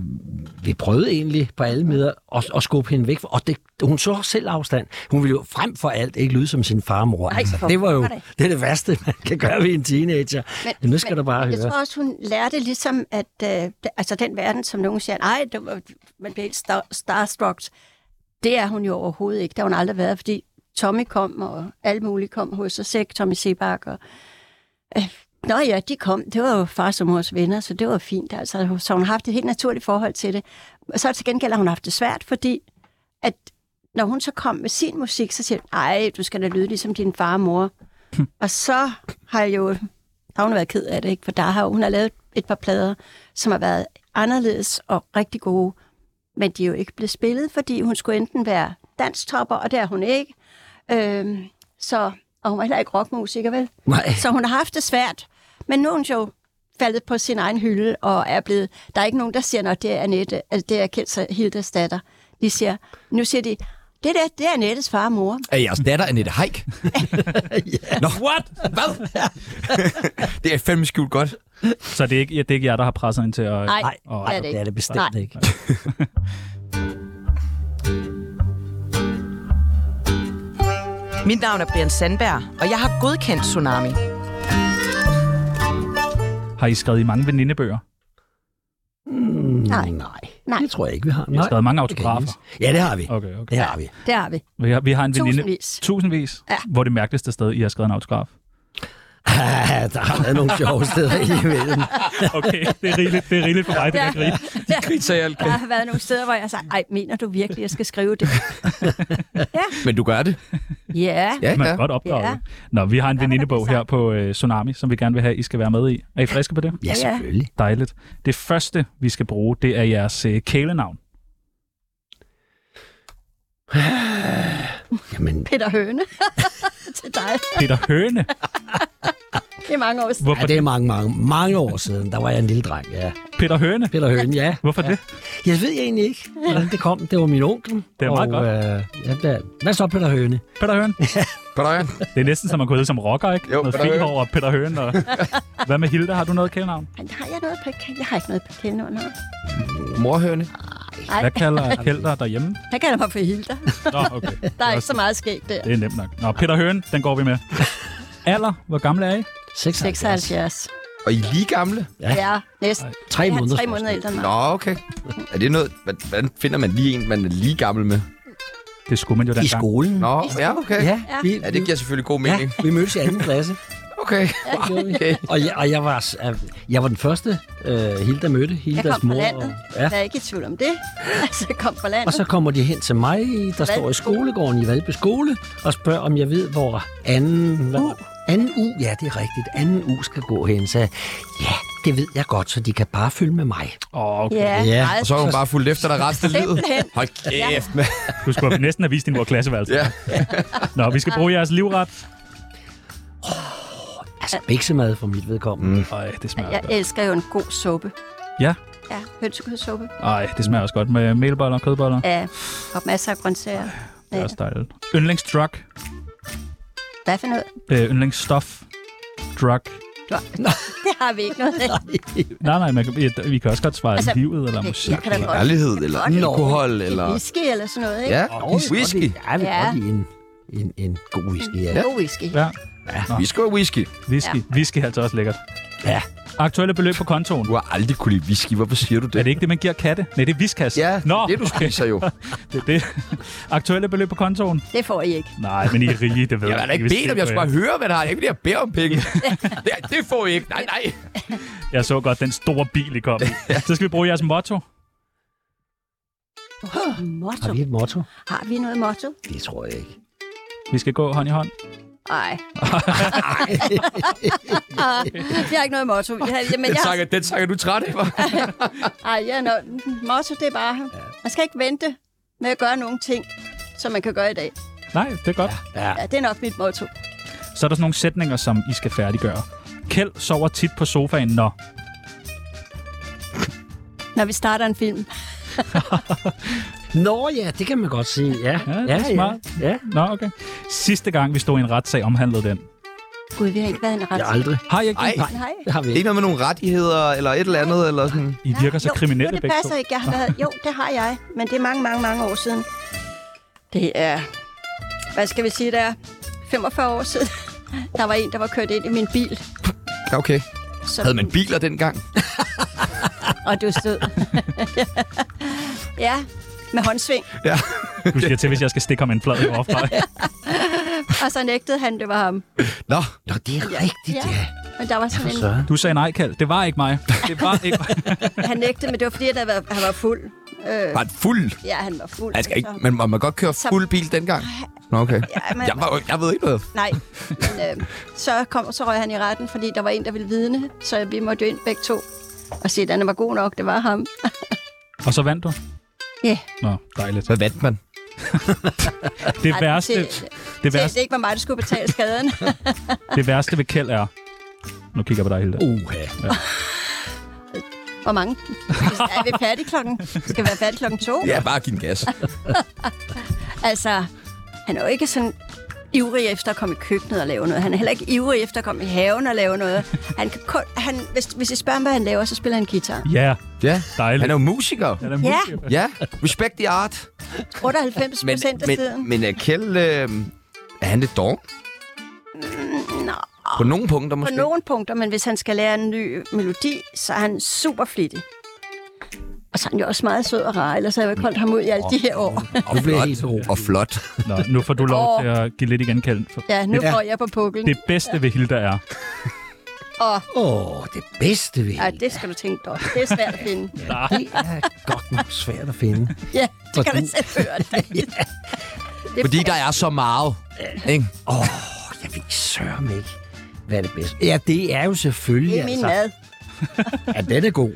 S4: vi prøvede egentlig på alle måder at, at skubbe hende væk. fra- Og det, hun så selv afstand. Hun ville jo frem for alt ikke lyde som sin farmor.
S7: Nej, for
S4: Altså, det var jo
S7: pokker da.
S4: det, er det værste, man kan gøre ved en teenager. Men, nu skal
S7: men,
S4: du bare
S7: men
S4: høre.
S7: Jeg tror også, hun lærte ligesom, at øh, det- altså, den verden, som nogen siger, nej, det var, man bliver helt star, starstruck. Det er hun jo overhovedet ikke. Det har hun aldrig været, fordi Tommy kom, og alle mulige kom hos os, ikke? Tommy Sebak og... Øh, Nå ja, de kom. Det var jo far som mors venner, så det var fint. Altså, så hun har haft et helt naturligt forhold til det. Og så til gengæld har hun haft det svært, fordi at når hun så kom med sin musik, så siger hun, ej, du skal da lyde ligesom din far og mor. og så har jeg jo har hun været ked af det, ikke? for der har hun har lavet et par plader, som har været anderledes og rigtig gode, men de er jo ikke blevet spillet, fordi hun skulle enten være danstopper, og det er hun ikke. Øhm, så, og hun var heller ikke rockmusiker, vel?
S4: Nej.
S7: Så hun har haft det svært. Men nu er hun jo faldet på sin egen hylde, og er blevet... Der er ikke nogen, der siger, at det er Annette, altså det er Kjeld og Hildes datter. De siger, nu siger de, det der, det er Annettes far og mor.
S1: Er jeres datter Annette Haik? Nå,
S5: What?
S1: hvad? det er fandme skjult godt.
S5: Så det er ikke, ja, det er ikke jer, der har presset hende til at...
S7: Nej,
S4: Nej,
S5: og-
S4: det er det, det, er det bestemt
S7: Nej.
S4: ikke.
S6: Mit navn er Brian Sandberg, og jeg har godkendt Tsunami.
S5: Har I skrevet i mange venindebøger?
S7: Nej.
S4: Mm, Nej,
S7: Nej.
S4: det tror jeg ikke, vi har.
S5: Vi har skrevet mange
S4: Det kan jeg
S5: autografer.
S4: ikke. Ja, det har vi.
S5: Okay, okay.
S4: Det har vi.
S7: Det har vi.
S5: Vi har, vi har en veninde...
S7: Tusindvis.
S5: Tusindvis.
S7: Ja.
S5: Hvor er det mærkeligste sted, I har skrevet en autograf?
S4: Ah, der har været nogle sjove steder imellem.
S5: Okay, det er rigeligt, det er rigeligt for mig, det der grin.
S1: Griner alt.
S7: Der har været nogle steder, hvor jeg har sagt, ej, mener du virkelig, jeg skal skrive det?
S1: Men du gør det.
S7: Ja.
S1: Ja,
S5: Man
S1: ja.
S5: kan godt opdrage
S7: Ja.
S5: det. Nå, vi har en
S7: der
S5: venindebog
S7: blive
S5: her på øh, Tsunami, som vi gerne vil have, I skal være med i. Er I friske på det?
S4: Ja, selvfølgelig.
S5: Dejligt. Det første, vi skal bruge, det er jeres øh, kælenavn.
S4: Jamen,
S7: Peter Høne til dig.
S5: Peter Høne.
S7: Det er mange år
S4: ja,
S7: siden.
S5: Hvorfor
S4: det er mange, mange, mange år siden. Der var jeg en lille dreng, ja.
S5: Peter Høne?
S4: Peter Høen, ja.
S5: Hvorfor det?
S4: Jeg ved egentlig ikke, hvordan det kom. Det var min onkel.
S5: Det er meget
S4: og,
S5: godt.
S4: Øh, ja, der, hvad så, Peter Høne?
S5: Peter Høne?
S1: Goddag.
S5: Det er næsten som at kunne hedde som rocker, ikke?
S1: Jo,
S5: noget
S1: Peter
S5: fint
S1: Høen.
S5: over Peter Høne. Og... Hvad med Hilda? Har du noget kælenavn?
S7: Men har jeg noget på Jeg har ikke noget på kælden under.
S1: Morhøne.
S7: Nej,
S5: Hvad kalder Helder derhjemme?
S7: jeg kalder mig for Hilda.
S5: Nå, okay.
S7: Der er ikke så meget skægt der.
S5: Det er nemt nok. Nå, Peter Høne, den går vi med. Alder? Hvor gamle er I?
S4: 76.
S7: 76.
S1: Og I er lige gamle?
S4: Ja.
S7: Ja, næsten.
S4: Tre
S7: Jeg er
S4: måneder.
S7: tre måneder ældre end
S1: Nå,
S7: mig.
S1: okay. Er det noget... hvad- Hvordan finder man lige en, man er lige gammel med?
S5: Det skulle man jo
S4: I
S5: dengang.
S4: skolen.
S1: Nå, ja, okay.
S4: Ja, vi,
S1: Ja, det giver selvfølgelig god mening.
S4: ja, vi mødtes i anden klasse.
S1: Okay.
S4: Det gjorde vi.
S1: Okay.
S4: Og, jeg, og jeg, var, s- øh, jeg var den første, øh, Hilda mødte.
S7: Jeg
S4: Hildas
S7: kom fra
S4: mor.
S7: landet.
S4: Og, ja.
S7: Jeg er ikke i tvivl om det. Altså, jeg kom fra
S4: Og
S7: landet.
S4: så kommer de hen til mig, der står i skolegården i Valby Skole, og spørger, om jeg ved, hvor anden... Hvad, anden U, ja, det er rigtigt. Anden U skal gå hen. Så jeg, ja, det ved jeg godt, så de kan bare følge med mig.
S5: Åh, okay.
S7: Ja,
S4: Ja,
S7: meget.
S1: Og så har hun bare fulgt efter dig resten af livet.
S7: Simpelthen.
S1: Hold kæft, mand.
S5: Du skulle have næsten have vist din mor klasseværelse.
S1: Ja.
S5: Nå, vi skal bruge jeres livret.
S4: Altså, biksemad for mit vedkommende. Mm.
S5: Ej, det smager
S7: Jeg
S5: godt.
S7: elsker jo en god suppe.
S5: Ja.
S7: Ja, hønsekødssuppe.
S5: Ej, det smager også godt med melboller og kødboller.
S7: Ja, og masser af grøntsager.
S5: Det er også dejligt. Yndlingsdrug.
S7: Hvad for noget?
S5: Øh, yndlingsstof. Drug.
S7: Du har... Det har vi ikke noget af.
S5: Nej, nej, man kan, I, I kan også godt svare altså,
S7: Altså,
S5: livet eller
S7: jeg-
S5: musik.
S7: jeg kan da
S5: eller-
S7: godt-
S1: Kærlighed eller
S7: Nå.
S1: alkohol eller...
S7: Whisky eller sådan noget, ikke?
S1: Ja, whisky.
S4: Ja, vi
S7: Ja.
S4: ja. godt i en, en, en god whisky. Ja.
S7: God whisky.
S5: Ja,
S1: Vi skal have whisky.
S5: whisky. Ja. Whisky er altså også lækkert.
S4: ja.
S5: Aktuelle beløb på kontoen.
S1: Du har aldrig kunne lide whisky. Hvorfor siger du det?
S5: Er det ikke det, man giver katte? Nej, det er viskas.
S1: Ja,
S5: Nå,
S1: det er, du spiser jo.
S5: det, er det. Aktuelle beløb på kontoen?
S7: Det får I ikke.
S5: Nej, men I er rige, det ved
S1: Jeg har da ikke
S5: Hvis
S1: bedt om,
S5: det-
S1: jeg skulle bare høre, hvad der er. Jeg vil lige bede om penge. det, det får I ikke. Nej, nej.
S5: Jeg så godt den store bil, I kom i. Så skal vi bruge jeres motto.
S7: Motto.
S4: Har vi et motto?
S7: Har vi noget motto?
S4: Det tror jeg ikke.
S5: Vi skal gå hånd i hånd.
S7: Nej. jeg har ikke noget motto. Jeg, har- men
S1: Den
S7: jeg, har,
S1: takker, den takker du er træt af, hva'?
S7: ej, jeg er noget, motto, det er bare, man skal ikke vente med at gøre nogle ting. som man kan gøre i dag.
S5: Nej, det er godt. Ja.
S4: Ja.
S7: Ja, det er nok mit motto.
S5: Så er der sådan nogle sætninger, som I skal færdiggøre. Kjeld sover tit på sofaen, når...
S7: Når vi starter en film.
S4: Nå ja, det kan man godt sige. Ja,
S5: Ja, det er smart.
S4: Ja, ja.
S5: Nå, okay. Sidste gang, vi stod i en retssag, omhandlede den.
S7: Gud, vi har ikke været i en ret.
S4: Jeg aldrig.
S5: Har jeg ikke
S1: Ej,
S5: det?
S1: det
S7: Nej.
S4: Det har vi
S1: er ikke
S4: ikke.
S1: noget med nogle rettigheder, eller et eller andet, eller sådan...
S5: I virker så
S7: jo,
S5: kriminelle
S7: jo, det
S5: begge
S7: passer
S5: to.
S7: ikke. Jeg har været, jo, det har jeg, men det er mange, mange, mange år siden. Det er, hvad skal vi sige, der 45 år siden. Der var en, der var kørt ind i min bil.
S1: Ja, Okay.
S7: Som,
S1: Havde man biler dengang?
S7: Og du stod. ja, med håndsving.
S1: Ja.
S5: Du siger til, hvis jeg skal stikke ham en flad i overfra.
S7: Og så nægtede han, det var ham.
S1: Nå,
S4: Nå, det er rigtigt, ja.
S7: Men der var sådan en,
S5: Du sagde nej, Kjeld. Det var ikke mig. Det var ikke mig.
S7: han nægtede, men det var fordi, han, havde været, han var fuld. Øh,
S1: var det fuld?
S7: ja, han var fuld.
S1: Jeg skal ikke,
S7: Så-
S1: men må man godt køre
S7: Så-
S1: fuld bil dengang? Nå, okay.
S7: Ja, men,
S1: Jeg, var, jo- jeg ved ikke noget.
S7: Nej, men øh, så, kom, så røg han i retten, fordi der var en, der ville vidne, så vi måtte jo ind begge to og se, at han var god nok, det var ham.
S5: Og så vandt du?
S7: Ja.
S5: Nå, dejligt.
S1: Hvad vandt man?
S5: Det
S7: Ej,
S5: værste,
S7: til-
S5: det
S7: Til, at
S5: værste,
S7: det ikke var mig, der skulle betale skaden.
S5: det værste ved Kjeld er... Nu kigger jeg på dig, Hilda.
S1: Uh.
S4: Uha.
S7: Hvor mange? Er vi færdige klokken? Skal vi være færdige klokken to?
S1: Ja, bare give den gas.
S7: Altså, han er jo ikke sådan ivrig efter at komme i køkkenet og lave noget. Han er heller ikke ivrig efter at komme i haven og lave noget. Han kan kun, han, hvis, hvis I spørger ham, hvad han laver, så spiller han guitar.
S5: Ja,
S1: Ja,
S5: dejligt.
S1: han er jo musiker.
S5: Han er
S7: Ja.
S5: musiker.
S1: Ja, respect the art.
S7: 98 procent af
S1: men,
S7: tiden.
S1: men er Kjeld... Øh, er han lidt doven?
S7: Mm, Nå,
S1: På nogle punkter
S7: på
S1: måske?
S7: nogle punkter, men hvis han skal lære en ny melodi, så er han super flittig. Og så er han jo også meget sød og rar, ellers havde jeg jo ikke holdt ham ud i alle de her år.
S1: og
S4: Nu bliver jeg
S1: flot.
S4: helt ro.
S1: Og flot.
S5: Nå, nu får du lov
S7: Åh.
S5: til at give lidt igen, Kjeld. For
S7: Ja, nu
S5: det,
S7: får jeg på puklen.
S5: det bedste ved Hilda er...
S7: Og
S4: Åh, det bedste ved
S7: ja, det skal du tænke dig. om. Det er svært at finde.
S4: det er godt nok svært at finde.
S7: Ja, det kan
S4: Hvordan?
S7: du selv høre. Det. Det
S1: Fordi der er så meget. Ikke?
S4: Jeg ved sørme ikke, hvad er det bedste. Ja, det er jo selvfølgelig... altså.
S7: det er min mad.
S4: Ja, den er god.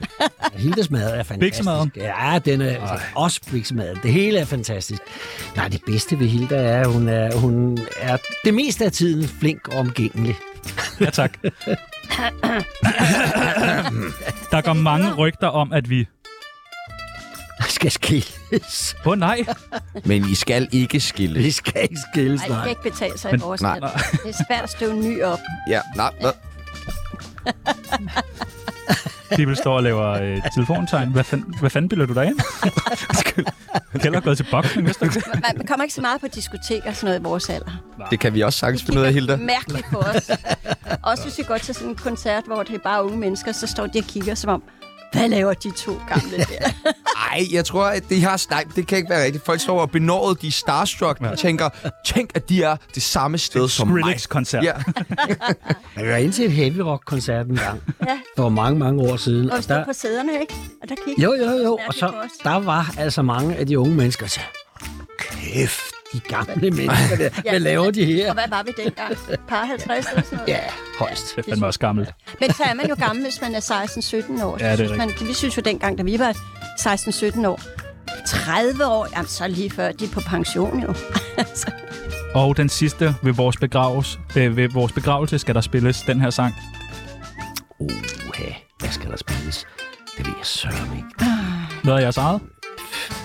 S4: Hildes mad er fantastisk.
S5: Biksemaden?
S4: Ja, den er altså, også biksemaden. Det hele er fantastisk. Nej, det bedste ved Hilda er, at hun er, hun er det meste af tiden flink og omgængelig.
S5: Ja, tak. Der går mange rygter om, at vi...
S4: Skal skilles.
S5: Åh oh, nej,
S1: Men I skal ikke skille.
S4: Vi skal ikke skilles,
S7: Ej, det
S4: nej.
S7: kan ikke betale sig i
S5: Men-
S7: vores
S1: nej.
S7: land. Det er svært at støve en ny op.
S1: Ja, nej, nej.
S5: Bibel står og laver øh, telefontegn. Hvad, fanden, hvad fanden bilder du dig ind? Kjeld er gået til boksning, hvis du ikke?
S7: Man, man kommer ikke så meget på diskotek og sådan noget i vores alder.
S1: Det kan vi også sagtens finde ud af, Hilda.
S7: Mærkeligt på os. Også hvis vi går til sådan en koncert, hvor det er bare unge mennesker, så står de og kigger som om, hvad laver de to gamle der?
S1: Ej, jeg tror, at det har nej, det kan ikke være rigtigt. Folk står og er benådet, de er starstruck, de tænker, tænk, at de er det samme sted som mig.
S5: Skrillex-koncert.
S1: Ja,
S4: Jeg var inde til et heavy rock koncert en gang.
S7: Ja.
S4: For mange, mange år siden.
S7: Og vi står på sæderne, ikke? Og der kigger
S4: Jo, jo, jo. Og
S7: Mærkeligt
S4: så,
S7: for os.
S4: der var altså mange af de unge mennesker, der sagde, kæft, de gamle mennesker der. Hvad laver de
S7: Og
S4: her?
S7: hvad var vi dengang? Par 50 eller sådan noget?
S4: Ja, højst.
S5: Det er fandme også gammelt.
S7: Men så er man jo gammel, hvis man er 16-17 år. Så
S5: Ja, det er
S7: synes man, vi synes jo dengang, da vi var 16-17 år, 30 år, jamen så lige før, de er på pension jo. Altså,
S5: Og den sidste ved vores, begraves, øh, ved vores begravelse skal der spilles den her sang.
S4: Uha, hvad skal der spilles? Det ved jeg sørme ikke.
S5: Noget af jeres eget?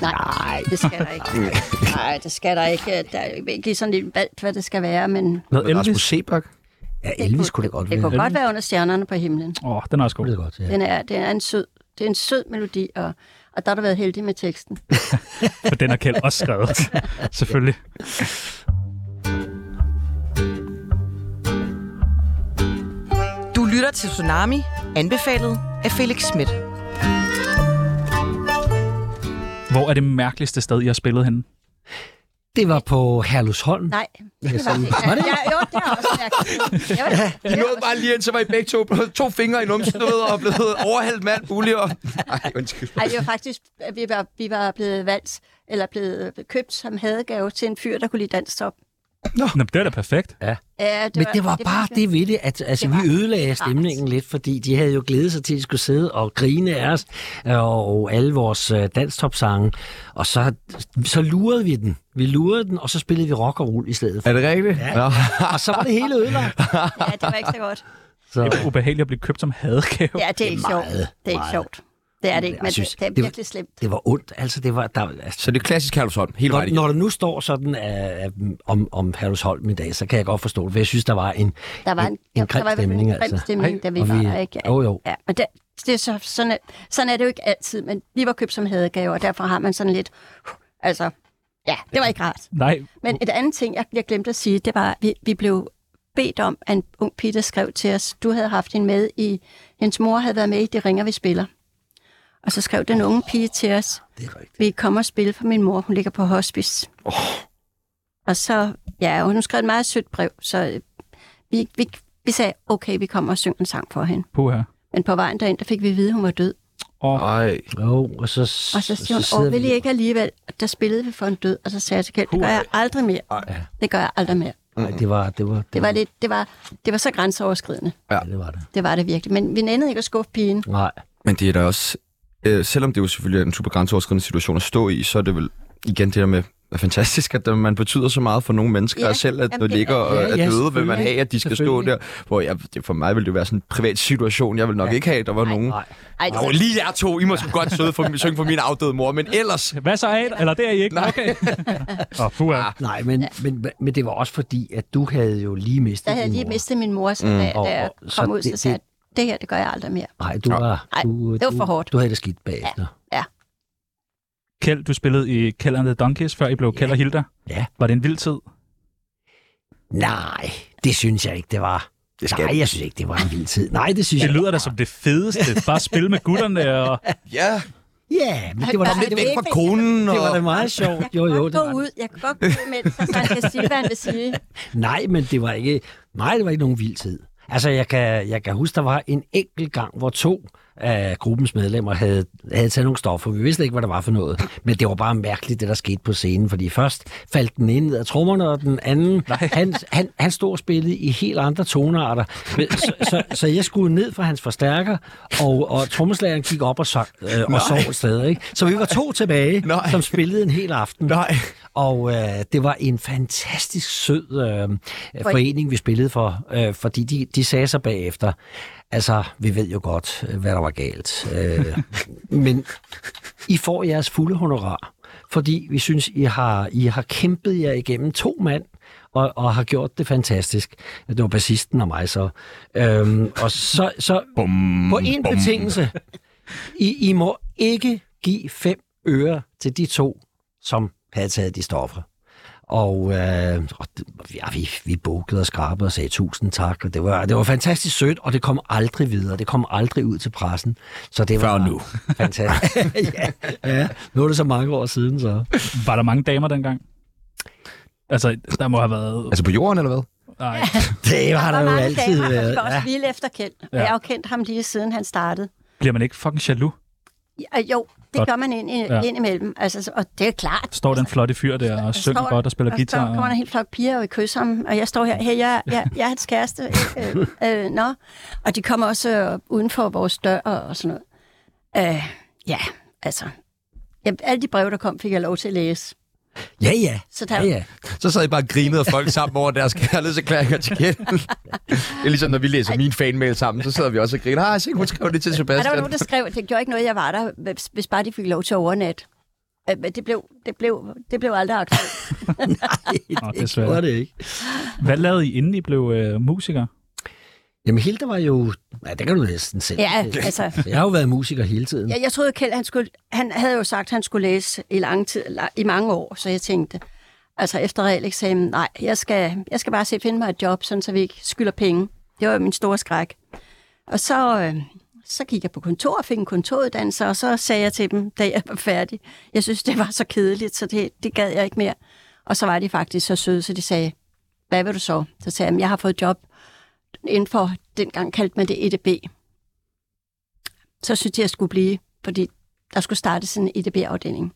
S7: Nej, det skal der ikke. Nej, det skal der ikke. Der er jo ikke sådan lidt valgt, hvad det skal være, men
S5: Noget
S1: Rasmus
S5: Elvis?
S1: Sebak.
S4: Ja, Elvis kunne det godt
S7: det
S4: være.
S7: kunne godt være under stjernerne på himlen.
S5: Åh, oh, den er også god.
S4: kunne det godt, ja.
S7: Den er, den er en sød, det er en sød melodi, og, og der har du været heldig med teksten.
S5: For den har Kjeld også skrevet. Selvfølgelig.
S6: Du lytter til Tsunami, anbefalet af Felix Schmidt.
S5: Hvor er det mærkeligste sted, I har spillet henne?
S4: Det var på Herlusholm.
S7: Nej, det var det ikke. Ja, jo, det er også mærkeligt. Jo,
S1: I nåede bare lige ind, så var I begge to blevet to fingre i numsen du ved, og blevet overhældt med alt muligt. Og... Ej, undskyld.
S7: Ej, det var faktisk, at vi øh, var, vi var blevet valgt, eller blevet købt som hadegave til en fyr, der kunne lide dansk top.
S5: Nå, men det er da perfekt.
S7: Ja, det
S4: Men det var bare det ved det, at altså,
S7: Det var
S4: vi ødelagde stemningen lidt, fordi de havde jo glædet sig til, at de skulle sidde og grine af os øh, og alle vores øh, danstopsange. Og så, så lurede vi den. Vi lurede den, og så spillede vi rock og roll i stedet. for.
S1: Er det rigtigt? Ja. Nå.
S4: Og så var det hele ødelagt.
S7: Ja, det var ikke så godt.
S5: Det
S4: Så,
S5: er ubehageligt at blive købt som hadegave.
S7: Ja, det er ikke sjovt.
S4: meget,
S7: Det er ikke
S4: meget.
S7: sjovt. Det er det ikke,
S4: Jeg
S7: men
S4: synes,
S7: det, det er
S4: det var-
S7: virkelig slemt.
S4: det var ondt. Altså, det var, der, altså,
S1: Så det er klassisk Herlufsholm, hele vejen
S4: Når,
S1: igennem.
S4: når der nu står sådan uh, om, om Herlus Holm i dag, så kan jeg godt forstå det, for jeg synes, der var en,
S7: Der var en,
S4: en, en grim
S7: der var i hvert fald
S4: stemning.
S7: en grim
S4: altså.
S7: stemning, da vi
S4: og
S7: var der, ikke?
S4: Jo, jo.
S7: Ja, men det, det er så, sådan, er, sådan er det jo ikke altid, men vi var købt som hadegaver, og derfor har man sådan lidt... Uh, altså, ja, det var ikke rart.
S5: Nej,
S7: Men et andet ting, jeg, jeg glemte at sige, det var, at vi, vi blev bedt om, at en ung pige, der skrev til os, du havde haft hende med i... Hendes mor havde været med i Det ringer, vi spiller. Og så skrev den unge pige til os,
S4: Ah, Det er rigtigt.
S7: vi kommer og spille for min mor, hun ligger på hospice. Oh. Og så, ja, og hun skrev et meget sødt brev, så øh, vi, vi, vi sagde, okay, vi kommer og synger en sang for hende.
S5: puha.
S7: Men på vejen derind, der fik vi at vide, at hun var død.
S5: Og
S1: Ej,
S4: Jo, og så,
S7: Og så siger hun,
S4: sidder
S7: åh, vil
S4: vi-
S7: I ikke alligevel? Og Der spillede vi for en død, og så sagde jeg til Kjeld, det gør jeg aldrig mere. Det gør jeg aldrig mere.
S4: Nej, det var det. Var,
S7: Det var, lidt, det var, det var så grænseoverskridende.
S4: Ja, det var det.
S7: Det var det virkelig. Men vi nændede ikke at skuffe pigen.
S4: Nej,
S1: men det er da også... Øh, selvom det jo selvfølgelig er en super grænseoverskridende situation at stå i, så er det vel igen det der med er fantastisk, at øh, man betyder så meget for nogle mennesker,
S7: Ja,
S1: ja, og selv at
S7: jamen,
S1: når
S7: det-
S1: ligger og
S4: Ja,
S1: er døde,
S4: ja,
S1: vil man
S4: selvfølgelig.
S1: have, at de skal stå der.
S4: Selvfølgelig.
S1: Hvor jeg, det- for mig ville det være sådan en privat situation. Jeg vil nok ja. ikke have, at der var nogen.
S4: nej.
S7: Ej, det
S1: Nå, lige jer to, I må sgu godt søde for, synge for min afdøde mor, men ellers...
S5: hvad så af? Eller det er I ikke? Okay. Åh, puha.
S4: Nej, men, men, men det var også fordi, at du havde jo lige mistet
S7: der havde
S4: din
S7: jeg lige
S4: mor. Mm.
S7: mistet min mor, så da, jeg-
S4: Og-
S7: da jeg
S4: og- så
S7: kom ud, så
S4: det-
S7: sagde jeg, det her, det gør jeg aldrig mere.
S4: Nej, du var...
S7: Ej,
S4: du,
S7: det var
S4: du-
S7: for hårdt.
S4: Du havde det skidt bagefter.
S5: Kjeld, du spillede i Kjeld and the Donkeys, før I blev Kjeld og Hilda.
S4: Ja.
S5: Var det en vild tid?
S4: Nej, det synes jeg ikke, det var. Det
S1: skal-
S4: Nej, jeg synes ikke, det var en vild tid. Nej, det synes
S5: Det
S4: jeg
S5: lyder da som det fedeste. Bare spille med gutterne og...
S1: Ja,
S4: Ja, men det var da
S7: Kom
S1: lidt
S7: det
S1: væk
S7: var
S1: fra
S7: ikke-
S1: konen.
S4: Det var da
S1: Og...
S4: meget sjovt. Jo, jo,
S7: Jeg
S4: det
S7: kan
S4: var
S7: godt gå
S4: det.
S7: ud, jeg kan godt gå ud, men så så han kan sige, hvad han vil sige.
S4: Nej, men det var ikke, nej, det var ikke nogen vild tid. Altså, jeg kan, jeg kan huske, der var en enkelt gang, hvor to af gruppens medlemmer havde, havde taget nogle stoffer. Vi vidste ikke, hvad det var for noget. Men det var bare mærkeligt, det der skete på scenen. Fordi først faldt den ene ned af trommerne, og den anden, han, han, han stod og spillede i helt andre tonearter. Men, så, så, så, jeg skulle ned fra hans forstærker, og, og trommeslageren gik op og, sang, øh, og sov et sted. Ikke? Så vi var to tilbage,
S1: Nej.
S4: som spillede en hel aften.
S1: Nej.
S4: Og øh, det var en fantastisk sød øh, forening, vi spillede for, øh, fordi de, de sagde sig bagefter, altså, vi ved jo godt, øh, hvad der var galt, øh, men I får jeres fulde honorar, fordi vi synes, I har, I har kæmpet jer igennem to mand, og, og har gjort det fantastisk. Det var bassisten og mig så. Øhm, og så, så
S1: Bum,
S4: på en betingelse. I, I må ikke give fem øre til de to, som havde taget de stoffer. Og, øh, og det- ja, vi, vi bukkede og skrabede og sagde tusind tak, og det var, det var fantastisk sødt, og det kom aldrig videre, det kom aldrig ud til pressen. Så det var
S1: Før nu.
S4: Fantastisk. ja, ja, nu er det så mange år siden, så.
S5: Var der mange damer dengang? Altså, der må have været...
S1: Altså på jorden, eller hvad?
S5: Nej.
S4: Det har der, jo
S7: Der var mange
S4: altid
S7: damer, der
S4: været.
S7: var også
S4: Ja.
S7: vilde efter Kjeld. Og
S5: Ja.
S7: jeg har jo kendt ham lige siden han startede.
S5: Bliver man ikke fucking jaloux?
S7: Ja, Jo, det
S5: Godt.
S7: gør man ind, ind,
S5: Ja.
S7: ind imellem. Altså, så- og det er klart,
S5: Står den flotte fyr der og synger
S7: står-
S5: godt og spiller
S7: Og så
S5: guitar?
S7: kommer der
S5: Og...
S7: en hel flok piger og vil kysse ham, og jeg står her, hey, jeg, jeg, jeg er hans kæreste. øh, øh, øh, nå. Og de kommer også øh, uden for vores dør og sådan noget. Øh, ja, altså. Ja, alle de breve, der kom, fik jeg lov til at læse.
S4: ja, ja.
S7: Så der,
S4: Ja, ja.
S1: Så sad I bare og grinede af folk sammen over deres kærlighedserklæringer til Kjeld. Det er ligesom, når vi læser min fanmail sammen, så sidder vi også og griner. Ah, se, hun skrev det til
S7: Ej, der var
S1: Sebastian.
S7: nogen, der skrev, at det gjorde ikke noget, jeg var der, hvis- hvis bare de fik lov til at overnatte. Øh, Men det blev, det blev, det blev aldrig aktuelt.
S5: Nå,
S4: Det var
S5: desværre.
S4: det ikke.
S5: Hvad lavede I, inden I blev øh, musikere?
S4: Jamen Hilda var jo... Ja, det kan du næsten selv.
S7: Ja, altså.
S4: Jeg har jo været musiker hele tiden.
S7: Jeg, jeg troede, Kjeld, han, skulle, han havde jo sagt, at han skulle læse i, lang tid, la- i mange år, så jeg tænkte, altså efter realeksamen, nej, jeg skal, jeg skal bare se, finde mig et job, sådan, så vi ikke skylder penge. Det var jo min store skræk. Og så, øh, så gik jeg på kontor og fik en kontoruddannelse, og så sagde jeg til dem, da jeg var færdig, jeg synes, det var så kedeligt, så det, det gad jeg ikke mere. Og så var de faktisk så søde, så de sagde, hvad vil du så? Så sagde jeg, "Jamen, jeg har fået job inden for, dengang kaldte man det EDB så syntes jeg, jeg skulle blive, fordi der skulle E starte sådan en EDB-afdeling.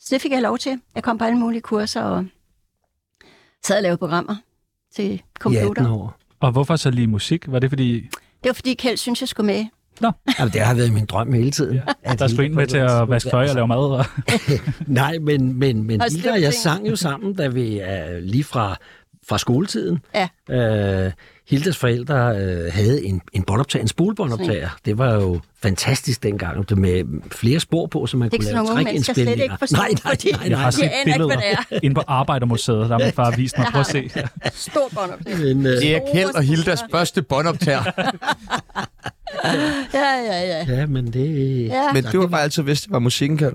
S7: Så det fik jeg lov til. Jeg kom på alle mulige kurser, og sad og lavede programmer til
S4: i 18
S7: computer.
S4: år.
S5: Og hvorfor så lige musik? Var det fordi,
S7: Det var fordi Kjeld synes, jeg skulle med.
S4: Jamen, det har været min drøm hele tiden. at
S5: der skulle
S4: hele
S5: en med til
S4: programmet
S5: at
S4: skulle
S5: vaske tøj og
S4: være-
S5: lave mad? Og...
S4: Nej, men, men, men
S7: Og
S4: Hilda
S7: slippe
S4: og jeg
S7: ting.
S4: sang jo sammen, da vi er lige fra, fra skoletiden.
S7: Ja.
S4: Øh, Hildas forældre øh, havde en, en båndoptager, en spolebåndoptager. Det var jo fantastisk dengang, det med flere spor på, så man
S7: Det er
S4: kunne
S7: sådan
S4: lave
S7: nogle unge mennesker slet
S4: trækindspilninger.
S7: ikke forstå,
S4: Nej,
S7: fordi
S4: nej, nej,
S5: Jeg
S4: nej.
S5: har
S7: Jeg
S5: set
S7: aner ikke,
S5: billeder
S7: hvad det
S5: inde på Arbejdermuseet, der har min far vist mig. Prøv at se.
S7: Stor båndoptagelse.
S4: Men, øh,
S3: Det er Kjeld og Hildas
S7: Store
S3: første båndoptager.
S7: Ja, ja, ja.
S4: ja, men det...
S7: ja.
S1: Men du har bare altid vidst, det var musikken, Kjeld.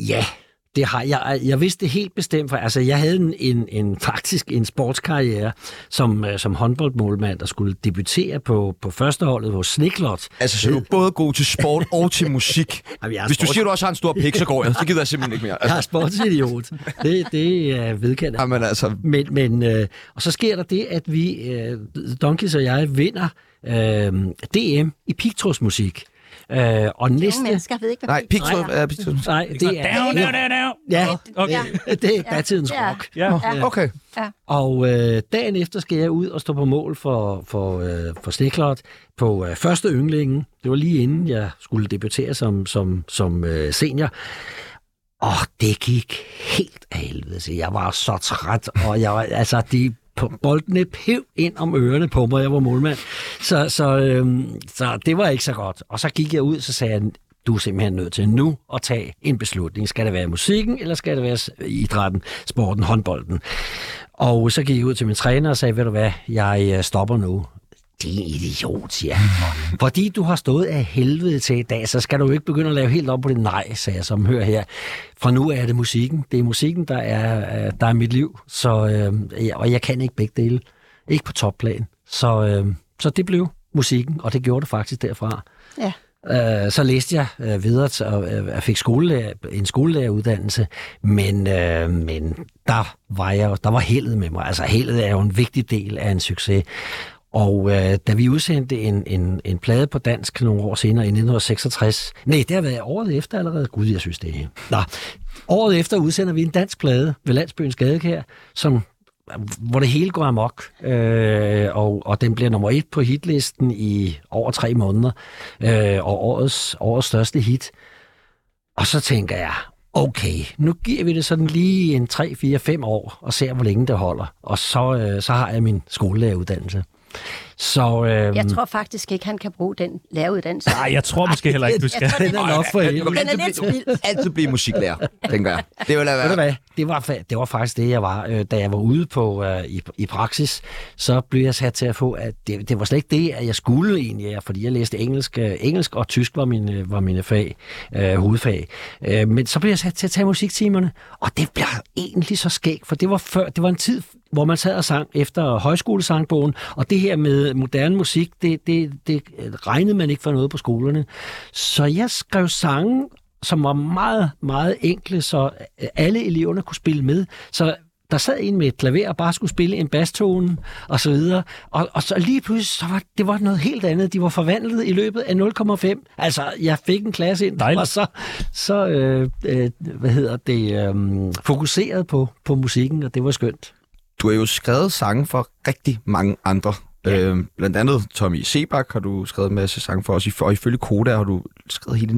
S4: Ja, det har jeg. Jeg vidste det helt bestemt, for altså, jeg havde en, en, en faktisk en sportskarriere som, øh, som håndboldmålmand, der skulle debutere på, på førsteholdet hos Sniklot.
S1: Altså, så du er både god til sport og til musik.
S4: Jamen, jeg er
S1: Hvis du
S4: sports-
S1: siger, du også har en stor pik, så går jeg. Så gider jeg simpelthen ikke mere.
S4: Jeg
S1: Altså,
S4: er sportsidiot. Det, det er vedkendt.
S1: jamen, altså,
S4: Men, men øh, og så sker der det, at vi, øh, Donkeys og jeg, vinder øh, DM i pigtrådsmusik. Øh, og
S7: Unge
S4: næste...
S7: mennesker ved ikke, hvad
S1: nej,
S7: pigtråd
S1: pigtråd.
S7: er.
S1: Ja, pigtråd.
S4: Nej, det er...
S5: Down, down, down, down.
S4: Ja,
S5: Okay.
S4: det, det er
S7: Ja.
S4: datidens
S7: Ja.
S4: rock.
S5: Ja.
S1: Okay.
S4: Og øh, dagen efter skal jeg ud og stå på mål for, for, øh, for Sneklot på øh, første ynglingen. Det var lige inden jeg skulle debutere som, som, som øh, senior. Og det gik helt af helvede til. Jeg var så træt, og jeg var, altså, de på- boldene pev ind om ørerne på mig. Jeg var målmand. Så, så, øhm, så det var ikke så godt. Og så gik jeg ud, så sagde jeg, du er simpelthen nødt til nu at tage en beslutning. Skal det være musikken, eller skal det være s- idrætten, sporten, håndbolden? Og så gik jeg ud til min træner og sagde, ved du hvad, jeg øh, stopper nu. Din idiot, siger han. Fordi du har stået af helvede til i dag, så skal du jo ikke begynde at lave helt op på det. Nej, sagde jeg som hører her. Fra nu er det musikken. Det er musikken, der er, øh, der er mit liv. Så, øh, ja, og jeg kan ikke begge dele. Ikke på topplan. Så, øh, så det blev musikken, og det gjorde det faktisk derfra.
S7: Ja.
S4: Øh, så læste jeg øh, videre til- og øh, jeg fik skolelærer, en skolelæreruddannelse, men, øh, men der var jeg, der var heldet med mig. Altså heldet er jo en vigtig del af en succes. Og øh, da vi udsendte en, en, en plade på dansk nogle år senere i 1966, nej, det har været året efter allerede. Gud, jeg synes det er. Nå, året efter udsender vi en dansk plade ved Landsbyens Gadekær, som hvor det hele går amok, øh, og, og den bliver nummer et på hitlisten i over tre måneder, øh, og årets, årets største hit. Og så tænker jeg, okay, nu giver vi det sådan lige en 3, 4, 5 år, og ser, hvor længe det holder. Og så, øh, så har jeg min skolelæreruddannelse. Så øh,
S7: Jeg tror faktisk ikke, han kan bruge den læreruddannelse.
S5: Nej, jeg tror måske heller ikke, du skal.
S7: tror,
S4: den er nok for
S1: Du
S4: evigt.
S1: kan
S7: Den er
S1: altid
S7: lidt
S1: blive- altid blive musiklærer, tænker jeg. Det vil da
S4: Ved du
S1: være.
S4: hvad? Det var, fa- det var faktisk det, jeg var. Øh, Da jeg var ude på, øh, i, i praksis, så blev jeg sat til at få, at det, det var slet ikke det, at jeg skulle egentlig, ja, fordi jeg læste engelsk, øh, engelsk og tysk var mine, var mine fag, øh, hovedfag. Øh, men så blev jeg sat til at tage musiktimerne, og det blev egentlig så skægt, for det var, før, det var en tid, hvor man sad og sang efter højskolesangbogen, og det her med moderne musik, det, det, det regnede man ikke for noget på skolerne. Så jeg skrev sange som var meget, meget enkle, så alle eleverne kunne spille med. Så der sad en med et klaver og bare skulle spille en bastone og så videre. Og, og så lige pludselig, så var det var noget helt andet. De var forvandlet i løbet af 0,5. Altså, jeg fik en klasse ind, der
S5: Dejligt.
S4: var så, så øh, øh, hvad hedder det, øh, fokuseret på, på musikken, og det var skønt.
S1: Du har jo skrevet sange for rigtig mange andre. Øhm, blandt andet Tommy Sebak har du skrevet en masse sange for os, i- og ifølge Koda har du skrevet hele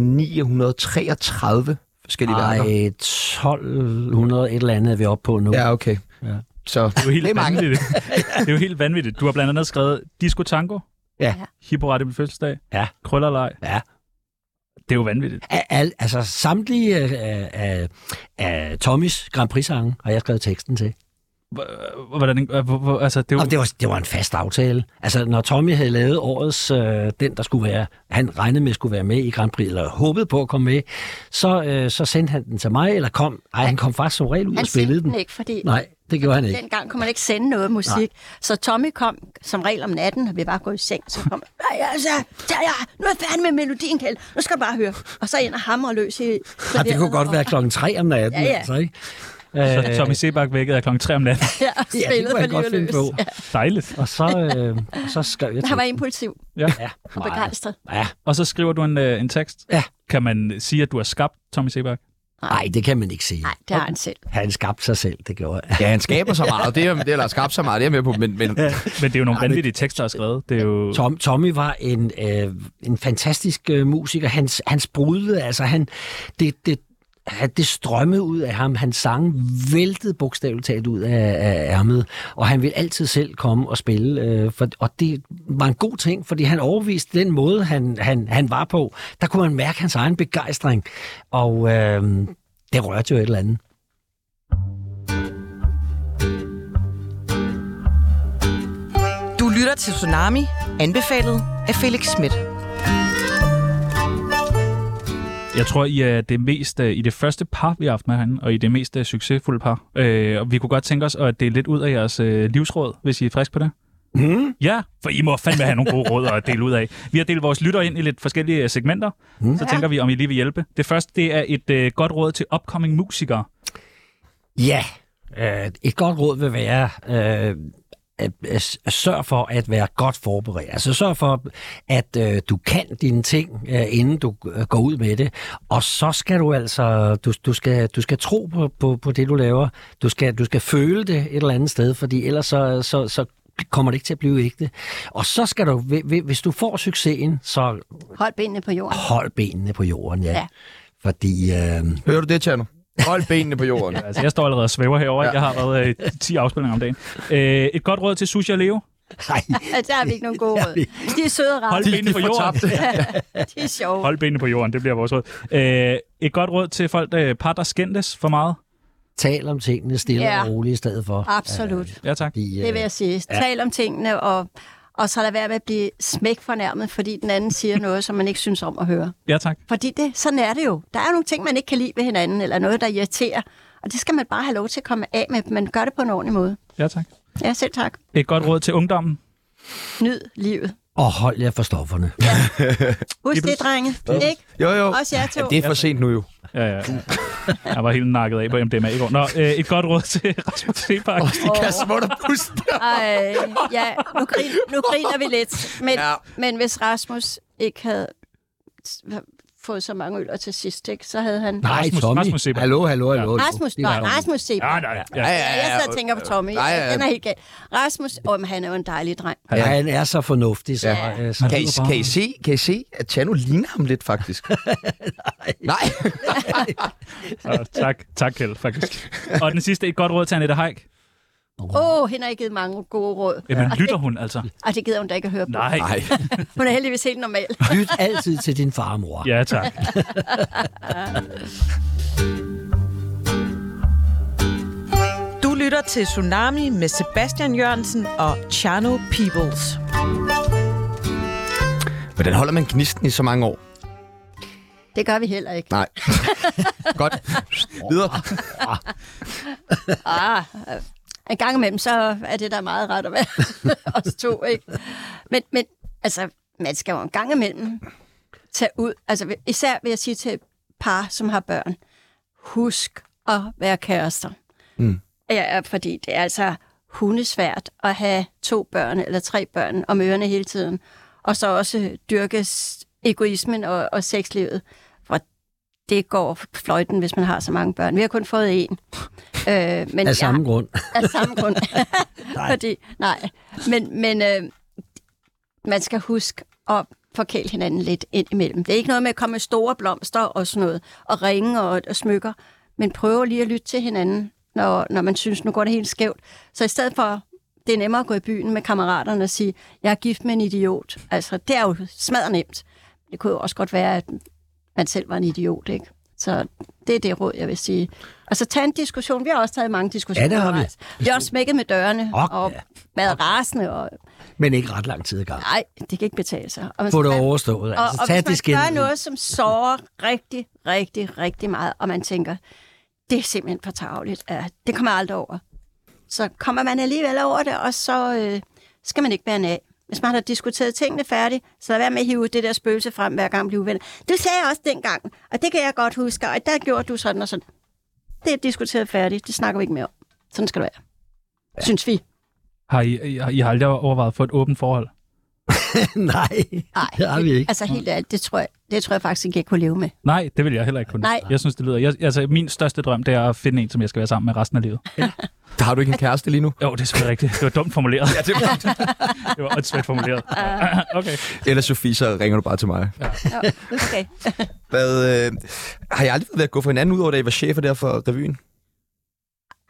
S1: 933 forskellige værker.
S4: Ej, 1200 et eller andet er vi oppe på nu.
S1: Ja, okay.
S4: Ja.
S1: Så
S5: Det er jo
S1: Det
S5: helt
S1: er mange.
S5: vanvittigt. Det er jo helt vanvittigt. Du har blandt andet skrevet Disco Tango.
S4: Ja.
S5: Hippo Rette min fødselsdag.
S4: Ja.
S5: Krøllerlej.
S4: Ja.
S5: Det er jo vanvittigt.
S4: Af, al, altså samtlige af, af, af Tommys Grand Prix-sange har jeg skrevet teksten til.
S5: H- Hvordan, h- h- h- altså, det er jo,
S4: Og det var, det var en fast aftale. Altså, når Tommy havde lavet årets, øh, den der skulle være, han regnede med skulle være med i Grand Prix, eller håbede på at komme med, så, øh, så sendte han den til mig, eller kom, ej, han kom faktisk som regel ud
S7: Han
S4: og spillede
S7: sendte
S4: den.
S7: den ikke, fordi
S4: Nej, det gjorde han ikke.
S7: dengang kunne man ikke sende noget musik. Nej. Så Tommy kom som regel om natten, og vi bare gået i seng, så kom han, "Ej, altså, ja, ja, nu er jeg færdig med melodien, Kjeld. Nu skal du bare høre. Og så ind og hamre løs i
S4: Og det kunne godt være klokken tre om natten,
S7: Ja, ja.
S4: altså, ikke?
S5: så
S4: Øh,
S5: Tommy Sebak vækkede af klokken 3 om natten.
S7: Ja, og
S4: ja, det
S7: spillet
S4: kunne
S7: for
S4: jeg godt
S7: livet
S4: finde
S7: løs.
S4: på.
S5: Dejligt.
S4: Og så, øh, og så skrev jeg
S7: Han var
S4: teksten.
S7: impulsiv
S4: Ja,
S7: og
S4: meget.
S7: begejstret.
S4: ja,
S5: Og så skriver du en, øh, en tekst.
S4: Ja.
S5: Kan man sige, at du har skabt Tommy Sebak?
S4: Nej, det kan man ikke sige.
S7: Nej, det har han selv.
S4: Han skabte sig selv, det gjorde jeg.
S1: Ja, han skaber så meget, det er, det er, eller skabt så meget, det er jeg med på, men, men
S5: Men det er jo nogle vanvittige tekster, der er skrevet. Det er jo...
S4: Tom, Tommy var en, øh, en fantastisk øh, musiker. Han, han sprudlede, altså han, det, det, han- det strømmede ud af ham. Hans sang væltede bogstaveligt talt ud af, af ærmet, og han ville altid selv komme og spille. Øh, for, og det var en god ting, fordi han overviste den måde, han, han, han var på. Der kunne man mærke hans egen begejstring, og øh, det rørte jo et eller andet.
S6: Du lytter til Tsunami, anbefalet af Felix Schmidt.
S5: Jeg tror, I er det mest, øh, i det første par, vi har haft med han, og i det mest øh, succesfulde par. Øh, og vi kunne godt tænke os at dele lidt ud af jeres øh, livsråd, hvis I er frisk på det. Mm. Ja, for I må fandme have nogle gode råd at dele ud af. Vi har delt vores lytter ind i lidt forskellige øh, segmenter, mm. så tænker vi, om I lige vil hjælpe. Det første, det er et øh, godt råd til upcoming musikere.
S4: Ja, øh, et godt råd vil være, øh, at, at sørg for at være godt forberedt. Altså sørg for, at øh, du kan dine ting, øh, inden du øh, går ud med det. Og så skal du altså, du, du, skal, du skal tro på, på, på det, du laver. Du skal, du skal føle det et eller andet sted, fordi ellers så, så, så kommer det ikke til at blive ægte. Og så skal du, hvi- hvi- hvis du får succesen, så
S7: Hold benene på jorden.
S4: hold benene på jorden, ja.
S7: Ja.
S4: ja. Fordi øh,
S1: hører du det, Tjerno? Hold benene på jorden.
S5: Altså, jeg står allerede og svæver herovre. Ja. Jeg har været øh, 10 afspilninger om dagen. Øh, et godt råd til Sushi og Leo.
S4: nej,
S7: Altså, Der har vi ikke nogen gode råd. De er søde og rare.
S5: Hold benene på jorden.
S7: De er sjove.
S5: Hold benene på jorden, det bliver vores råd. Øh, et godt råd til folk, der øh, par, der skændes for meget.
S4: tal om tingene stille
S7: Ja.
S4: og roligt i stedet for.
S7: Absolut.
S5: Ja, tak.
S4: Fordi, øh,
S7: Det vil jeg sige. Tal om tingene, og, og så lad være med at blive smæk fornærmet, fordi den anden siger noget, som man ikke synes om at høre.
S5: Ja, tak.
S7: Fordi det, sådan er det jo. Der er jo nogle ting, man ikke kan lide ved hinanden, eller noget, der irriterer. Og det skal man bare have lov til at komme af med, men gør det på en ordentlig måde.
S5: Ja, tak.
S7: Ja, selv tak.
S5: Et godt råd til ungdommen.
S7: Nyd livet.
S4: Og hold jer for stofferne.
S7: Husk det, drenge. Ikke?
S1: Jo, jo.
S7: Også jer to.
S1: Ja, det er for sent nu jo.
S5: Ja, ja. Jeg var helt nakket af på MDMA i går. Nå, øh, et godt råd til Rasmus Sebak.
S1: De kan smutte puste.
S7: Ej, ja, nu, grin, nu griner vi lidt. Men,
S1: Ja.
S7: ja. men hvis Rasmus ikke havde s- fået så mange øl til sidst, ikke, så havde han...
S4: Nej,
S5: Rasmus-
S4: Tommy.
S5: Rasmus Sebak.
S4: hallo, hallo, hallo.
S7: Rasmus, nej, Rasmus se.
S5: Ja, nej, ja. ja.
S7: Ja, jeg sidder og tænker på Tommy.
S1: Nej, ja, ja.
S7: Den er helt galt. Rasmus, åh, men han er jo en dejlig dreng.
S4: Ja, han er så fornuftig, så...
S1: Ja.
S4: øh, så
S1: Kan I, kan, I se, kan I se, at Tjerno ligner ham lidt, faktisk? Nej.
S5: Og tak, tak Kjeld, faktisk. Og den sidste, et godt råd til Annette Haik.
S7: Åh, oh, hende har ikke givet mange gode råd.
S5: Jamen, lytter hun altså?
S7: Og det gider hun da ikke at høre på.
S5: Nej.
S1: Nej.
S7: Hun er heldigvis helt normal.
S4: Lyt altid til din far og mor.
S5: Ja, tak.
S6: Du lytter til Tsunami med Sebastian Jørgensen og Chano Peoples.
S1: Hvordan holder man gnisten i så mange år?
S7: Det gør vi heller ikke.
S1: Nej. Godt. Videre.
S7: Ah, øh, en gang imellem, så er det da meget rart at være os to, ikke? Men, men altså, man skal jo en gang imellem tage ud. Altså, især vil jeg sige til par, som har børn, husk at være kærester.
S1: Mm.
S7: Ja, fordi det er altså hundesvært at have to børn eller tre børn om ørerne hele tiden. Og så også dyrkes egoismen og, og sexlivet. For det går fløjten, hvis man har så mange børn. Vi har kun fået én. Øh, men
S4: Af
S7: jeg-
S4: samme grund.
S7: af samme grund. nej. Fordi, nej. Men, men øh, man skal huske at forkæle hinanden lidt ind imellem. Det er ikke noget med at komme med store blomster og sådan noget, og ringe og, og smykker, men prøv lige at lytte til hinanden, når, når man synes, nu går det helt skævt. Så i stedet for, det er nemmere at gå i byen med kammeraterne og sige, jeg er gift med en idiot. Altså, det er jo smadret nemt. Det kunne jo også godt være, at man selv var en idiot, ikke? Så det er det råd, jeg vil sige. Og så tag en diskussion. Vi har også taget mange diskussioner.
S4: Ja, det har vi.
S7: undervejs. Vi har også smækket med dørene
S4: Ok,
S7: og
S4: ja.
S7: været rasende. Og,
S4: Men ikke ret lang tid i gang.
S7: nej, det kan ikke betale sig. Og man
S4: Få
S7: skal-
S4: det overstået.
S7: og,
S4: Altså,
S7: og
S4: tag
S7: hvis man
S4: det skin.
S7: gør noget, som sårer rigtig, rigtig, rigtig meget, og man tænker, det er simpelthen for tageligt, ja, det kommer jeg aldrig over. Så kommer man alligevel over det, og så øh, skal man ikke bære den af. Hvis man har diskuteret tingene færdigt, så lad være med at hive det der spøgelse frem, hver gang vi bliver uvenner. Du sagde også dengang, og det kan jeg godt huske, og der gjorde du sådan og sådan. Det er diskuteret færdigt, det snakker vi ikke mere om. Sådan skal det være. Ja. Synes vi.
S5: Har I, I, I har aldrig overvejet at få et åbent forhold?
S4: Nej, det har vi ikke.
S7: Altså helt ærligt, det tror jeg, Det tror jeg faktisk ikke, jeg kunne leve med.
S5: Nej, det vil jeg heller ikke kunne.
S7: Nej.
S5: Jeg synes, det lyder... Jeg, altså, min største drøm, det er at finde en, som jeg skal være sammen med resten af livet.
S1: Der har du ikke en kæreste lige nu?
S5: Jo, det er selvfølgelig rigtigt. Det var dumt formuleret.
S1: Ja, det var...
S5: Det var svært formuleret. okay.
S1: Eller Sofie, så ringer du bare til mig.
S7: Okay.
S1: Hvad, øh, har jeg aldrig været ved at gå fra hinanden, udover da I var chefer der for revyen?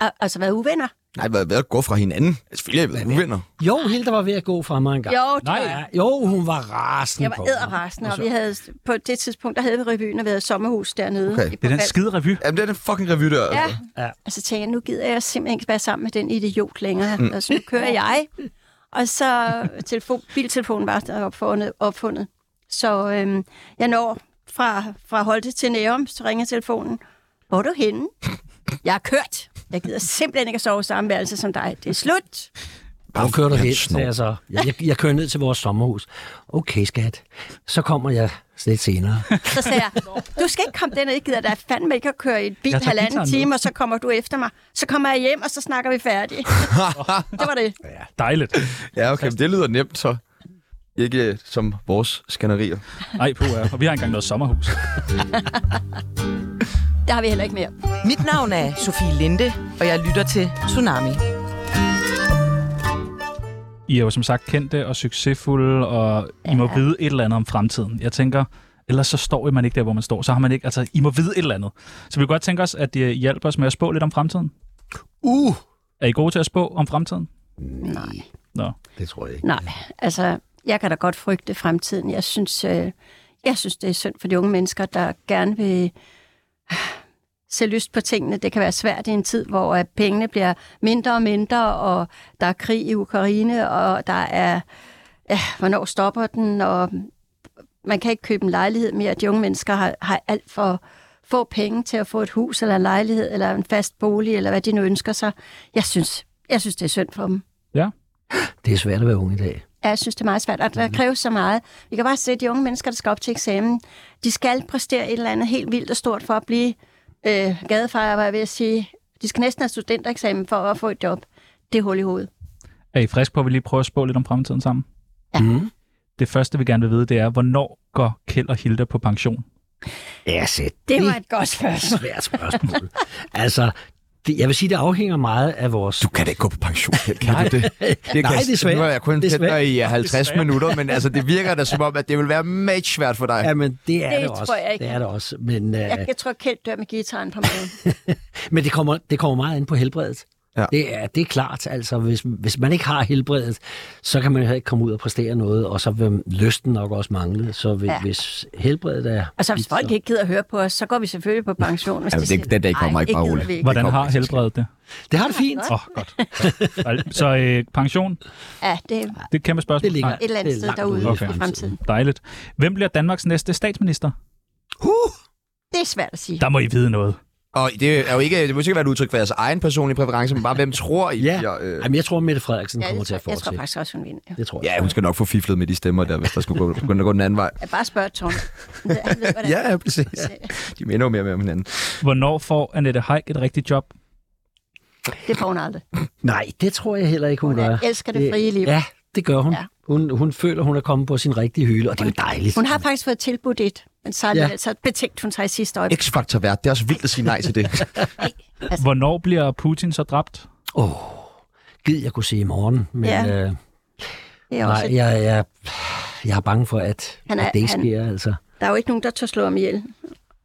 S7: Al- altså været uvenner?
S1: Nej, været ved at gå fra hinanden. Selvfølgelig har jeg været uvenner.
S4: Jo, Hilda var ved at gå fra mig en gang.
S7: Jo, det
S5: Nej.
S7: var jeg.
S4: Jo, hun var rasende
S7: Jeg var
S4: på mig.
S7: æderresten, og vi havde, på det tidspunkt, der havde vi revyen og vi havde sommerhus dernede.
S1: Okay.
S7: i
S5: Det er den
S7: Bornholm.
S5: skide revy.
S1: Jamen, det er den fucking revy der.
S7: Ja.
S1: altså.
S4: Ja.
S7: ja. Og så tænkte jeg, nu gider jeg simpelthen ikke være sammen med den idiot længere. Mm. Og så nu kører jeg. Og så øh, telefon, biltelefonen var der opfundet. opfundet. Så øhm, jeg når fra, fra Holte til Nærum, så ringer telefonen. Hvor er du henne? Jeg er kørt. Jeg gider simpelthen ikke at sove i samme værelse som dig. Det er slut.
S4: Hvor kører du
S1: Han
S4: hen?
S1: snor.
S4: sagde Jeg, så. Jeg, jeg, jeg kører ned til vores sommerhus. Okay, skat. Så kommer jeg lidt senere.
S7: Så sagde jeg, du skal ikke komme derned, jeg gider dig fandme ikke at køre i en bil
S5: Jeg tager
S7: halvanden
S5: guitaren
S7: time, og så kommer du efter mig. Så kommer jeg hjem, og så snakker vi færdigt. det var det.
S5: Ja, dejligt.
S1: Ja, okay, men det lyder nemt så. Ikke øh, som vores skænderier.
S5: Ej, på Og vi har engang noget sommerhus.
S7: Der har vi heller ikke mere.
S6: Mit navn er Sofie Linde, og jeg lytter til Tsunami.
S5: I er jo som sagt kendte og succesfulde, og I må vide et eller andet om fremtiden. Jeg tænker, ellers så står man ikke der, hvor man står. Så har man ikke, altså, I må vide et eller andet. Så vi kunne godt tænke os, at I hjælper os med at spå lidt om fremtiden.
S4: Uh!
S5: Er I gode til at spå om fremtiden?
S7: Nej.
S5: Nå.
S2: Det tror jeg ikke.
S7: Nej, altså, jeg kan da godt frygte fremtiden. Jeg synes, øh, jeg synes det er synd for de unge mennesker, der gerne vil øh, se lyst på tingene. Det kan være svært i en tid, hvor at pengene bliver mindre og mindre, og der er krig i Ukraine, og der er, ja, hvornår stopper den, og man kan ikke købe en lejlighed mere. De unge mennesker har, har alt for få penge til at få et hus eller en lejlighed eller en fast bolig, eller hvad de nu ønsker sig. Jeg synes, jeg synes det er synd for dem.
S4: Det er svært at være ung i dag.
S7: Ja, jeg synes, det er meget svært, og der kræves så meget. Vi kan bare se, at de unge mennesker, der skal op til eksamen, de skal præstere et eller andet helt vildt og stort for at blive øh, gadefejrer, var jeg ved at sige. De skal næsten have studentereksamen for at få et job. Det er hul i hovedet.
S5: Er I frisk på, at vi lige prøver at spå lidt om fremtiden sammen?
S7: Ja.
S4: Mm.
S5: Det første, vi gerne vil vide, det er, hvornår går Kjeld og Hilda på pension?
S4: Ja, sæt.
S7: Det var et godt spørgsmål.
S4: svært spørgsmål. altså, det, jeg vil sige, det afhænger meget af vores...
S1: Du kan da ikke gå på pension, Kjeld, kan du det? det
S4: Nej, desværre.
S1: Nu har jeg kun kendt
S4: Desværre.
S1: dig i 50
S5: Desværre.
S1: minutter, men altså, det virker da som om, at det vil være match svært for dig.
S4: Ja, men det er det,
S7: Det
S4: også.
S7: tror jeg ikke.
S4: Det er det også. Men, øh,
S7: Jeg, jeg tror, Kjeld dør med gitaren på maven.
S4: men det, kommer, det kommer meget an på helbredet.
S1: Ja.
S4: Det, er, det er klart, altså hvis, hvis man ikke har helbredet, så kan man heller ikke komme ud og præstere noget, og så vil lysten nok også mangle. Så hvis, ja.
S7: Ja.
S4: hvis helbredet er...
S7: Og så hvis folk ikke gider at høre på os, så går vi selvfølgelig på pension. Hvis
S1: Ja,
S7: ja,
S1: men det- den dag kommer ikke, bare rolig."
S5: Hvordan
S1: kommer
S5: har
S1: ikke til at
S5: helbredet det?
S4: Det har det fint.
S5: Åh, oh, godt. Dejligt. Så øh, pension, det
S7: Ja, det er
S5: er et kæmpe spørgsmål.
S4: Det ligger
S5: Nej,
S7: et eller andet
S4: det er
S7: sted
S4: langt
S7: derude
S4: ude
S5: i
S7: i fremtiden.
S5: Dejligt. Hvem bliver Danmarks næste statsminister?
S7: Det er svært at sige.
S5: Der må I vide noget.
S1: Og det er jo ikke, det må ikke være et udtryk for jeres egen personlige præference, men bare hvem tror I?
S4: Ja,
S1: bliver, øh...
S4: Jamen, jeg tror, Mette Frederiksen
S7: Ja,
S4: kommer
S7: jeg,
S4: til
S7: tror,
S4: at
S7: jeg tror
S4: fortsætte.
S7: faktisk også, hun vinder.
S4: Det tror jeg.
S1: Ja, hun skal nok få fiflet med de stemmer der, hvis der skulle gå, begynde at gå den anden vej.
S7: Jeg bare spørger Tom. Han ved, hvordan
S1: Ja, ja, præcis. De minder jo mere med om hinanden.
S5: Hvornår får Annette Heik et rigtigt job?
S7: Det får hun aldrig.
S4: Nej, det tror jeg heller ikke, hun,
S7: Hun
S4: gør.
S7: elsker det frie liv.
S4: Ja, det gør hun. Ja.
S7: Ja.
S4: Hun, hun føler, hun er kommet på sin rigtige hylde, og det er jo dejligt.
S7: Hun har faktisk fået tilbudt et, men så,
S4: Ja.
S7: ja. så betænkte hun sig i sidste øjeblik.
S1: X-Factor vært, det er også vildt at sige nej til det.
S5: Hvornår bliver Putin så dræbt?
S4: Åh, oh, gid jeg kunne se i morgen, men
S7: Ja,
S4: ja, øh,
S7: Det er også
S4: nej,
S7: et,
S4: jeg, jeg, jeg er bange for, at,
S7: Han
S4: er,
S7: er-
S4: at det ikke
S7: han-
S4: sker. Altså.
S7: Der er jo ikke nogen, der tør slå ham ihjel.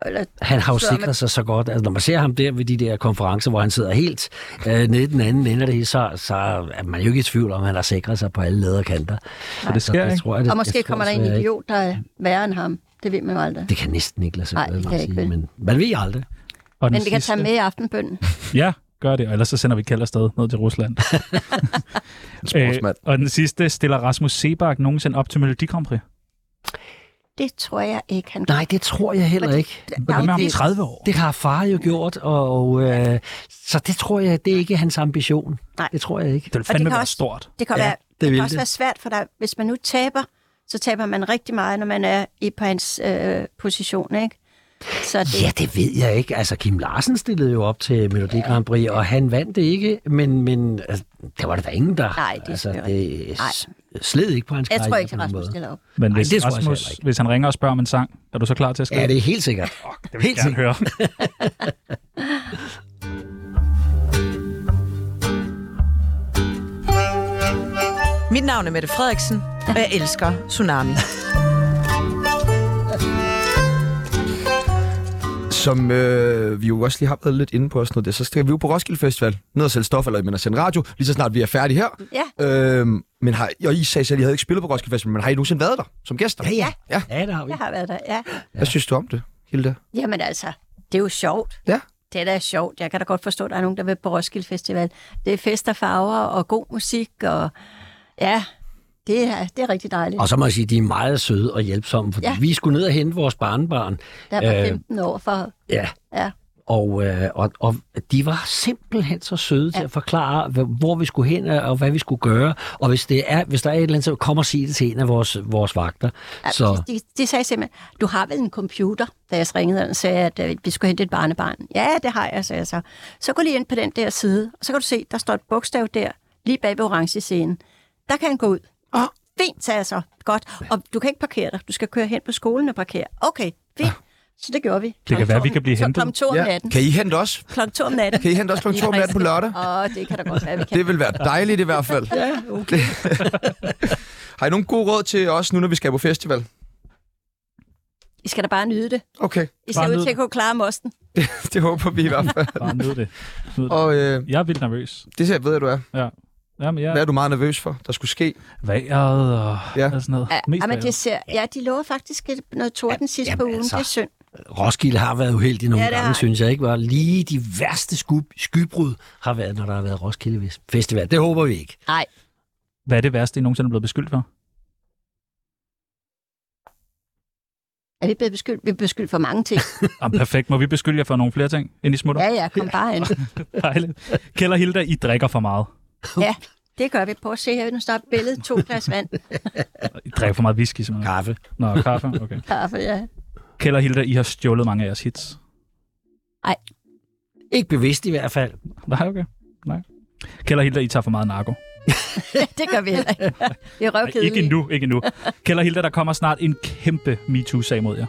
S7: Eller,
S4: Han har jo
S7: Så er man-
S4: sikret sig så godt. Altså, når man ser ham der ved de der konferencer, hvor han sidder helt øh, nede i den anden ende af det hele, så, så er man jo ikke i tvivl om, at han har sikret sig på alle leder og kanter.
S5: Så det sker ikke.
S4: tror jeg, det,
S7: og måske
S4: jeg tror
S7: kommer der en
S4: desværre ikke.
S7: idiot, der er værre end ham. Det ved man jo aldrig.
S4: Det kan næsten ikke lade sig
S7: Nej,
S4: gøre,
S7: det
S4: må
S7: kan
S4: jeg
S7: ikke,
S4: sige,
S7: vel?
S4: men man ved aldrig.
S5: Og den
S7: Men vi kan
S5: sidste-
S7: tage med i aftenbønden.
S5: Ja, gør det. Og ellers så sender vi Kjeld afsted ned til Rusland. Øh,
S1: Sportsmand.
S5: og den sidste, stiller Rasmus Sebak nogensinde op til Melodi Grand Prix?
S7: Det tror jeg ikke, han
S4: Nej, det tror jeg heller
S7: Fordi-
S4: ikke.
S5: Hvad med
S7: Nej,
S5: ham om
S7: det-
S5: 30 år?
S4: Det har far jo gjort, og øh, så det tror jeg, det er ikke hans ambition.
S7: Nej.
S4: Det tror jeg ikke.
S5: Det vil
S7: det
S5: fandme
S7: kan
S5: være
S7: også-
S5: stort.
S7: Det kan,
S4: Ja,
S7: ja, være,
S4: det
S7: det det
S4: vil
S7: kan også
S4: det.
S7: være svært for dig. Hvis man nu taber, så taber man rigtig meget, når man er i på hans øh, position, ikke? Så det,
S4: Ja, det ved jeg ikke. Altså, Kim Larsen stillede jo op til Melodi Grand Prix, og han vandt det ikke, men, men altså, der var der da ingen, der...
S7: Nej, det er
S4: altså,
S7: selvfølgelig
S4: det,
S7: Nej.
S4: sled ikke på hans
S7: Jeg tror
S4: karriere
S7: ikke,
S4: på nogen
S7: Rasmus
S4: måde.
S7: stiller op.
S5: Men
S4: Nej,
S5: hvis,
S4: det tror jeg heller
S5: Rasmus,
S4: ikke.
S5: hvis han ringer og spørger om en sang, er du så klar til at skrive?
S4: Ja, det er helt sikkert.
S5: det vil jeg
S4: helt
S5: gerne høre.
S6: Mit navn er Mette Frederiksen, og jeg elsker Tsunami.
S1: Som øh, vi jo også lige har været lidt inde på og sådan noget der, så skal vi jo på Roskilde Festival, ned og sælge stof eller men at sende radio, lige så snart vi er færdige her.
S7: Ja.
S1: Øhm, men har, og I sagde selv, at I havde ikke spillet på Roskilde Festival, men har I nogensinde været der som gæster?
S4: Ja, ja.
S1: Ja.
S4: Ja, det har vi.
S7: Jeg har været der, ja.
S1: Hvad synes du om det, Hilda?
S7: Jamen altså, det er jo sjovt.
S1: Ja.
S7: Det er da sjovt. Jeg kan da godt forstå, at der er nogen, der vil på Roskilde Festival. Det er fest og farver og god musik, og ja, det er, det er rigtig dejligt.
S4: Og så må jeg sige, at de er meget søde og hjælpsomme, fordi ja.
S7: Ja.
S4: vi skulle ned og hente vores barnebarn.
S7: Der var
S4: Øh,
S7: 15 år for...
S4: Ja.
S7: Ja.
S4: Og, øh, og, og de var simpelthen så søde ja. til
S7: Ja.
S4: at forklare, hva- hvor vi skulle hen og hvad vi skulle gøre. Og hvis, det er, hvis der er et eller andet, så kom og sig det til en af vores, vores vagter. Ja, så,
S7: De, de sagde simpelthen, du har vel en computer, da jeg ringede og sagde, at øh, vi skulle hente et barnebarn. Ja, det har jeg, sagde jeg så. Så gå lige ind på den der side, og så kan du se, der står et bogstav der, lige bag ved orange scenen. Der kan han gå ud. Åh, fint, sagde jeg så. Godt. Og du kan ikke parkere dig. Du skal køre hen på skolen og parkere. Okay,
S1: Ah.
S7: fint. Så det gjorde vi.
S5: kan
S7: Klokken
S5: være, vi
S7: to-
S5: kan blive
S7: så
S5: hentet.
S7: Klokken to om natten.
S1: Kan I hente os?
S7: Klokken to om natten.
S1: Kan I hente os klokken to om natten på lørdag?
S7: Åh, det kan da godt være, vi kan.
S1: Det vil være dejligt i hvert fald. ja, okay. har I nogle gode råd til os nu, når vi skal på festival?
S7: I skal da bare nyde det.
S1: Okay,
S7: I
S5: Bare
S7: ser ud
S5: nyde
S7: til at kunne klare mosten.
S1: det håber vi i hvert fald.
S5: Bare nyd det. Nyd det.
S1: Og øh,
S5: Jeg er vildt nervøs.
S1: det her ved jeg, du er.
S5: Jamen, jeg
S1: Hvad er du meget nervøs for, der skulle ske?
S5: vejret og,
S1: Ja.
S5: ja. og sådan noget.
S7: Ja,
S5: Mest
S7: men
S5: vejret.
S7: det ser, ja, de lover faktisk et- noget torden sidst på
S4: jamen
S7: ugen.
S4: altså.
S7: Det er synd.
S4: Roskilde har været uheldig nogle
S7: Ja,
S4: ja,
S7: det
S4: gange,
S7: har
S4: synes jeg ikke. Var lige de værste sku- skybrud har været, når der har været Roskilde Festival. Det håber vi ikke.
S7: Nej,
S5: Hvad er det værste, I nogensinde er blevet beskyldt for?
S7: er vi blevet beskyldt? Vi er beskyldt for mange ting.
S5: Jamen, perfekt. Må vi beskylde jer for nogle flere ting, inden I smutter?
S7: Ja, ja, kom bare ind.
S5: Dejligt. Kjell og Hilda, I drikker for meget.
S7: Ja, det gør vi. Prøv at se her. Nu står der et billede, to glas vand,
S5: I drikker for meget whisky, simpelthen.
S4: Kaffe.
S5: Nå, kaffe, okay.
S7: kaffe, ja.
S5: Kjell og Hilda, I har stjålet mange af jeres hits.
S4: Ikke bevidst i hvert fald.
S5: Nej, okay. Nej. Kjell og Hilda, I tager for meget narko.
S7: Det gør vi heller ikke. Vi er
S5: Nej, ikke
S7: røvkedelige.
S5: endnu, ikke endnu. Kjell og Hilda, der kommer snart en kæmpe MeToo-sag mod jer.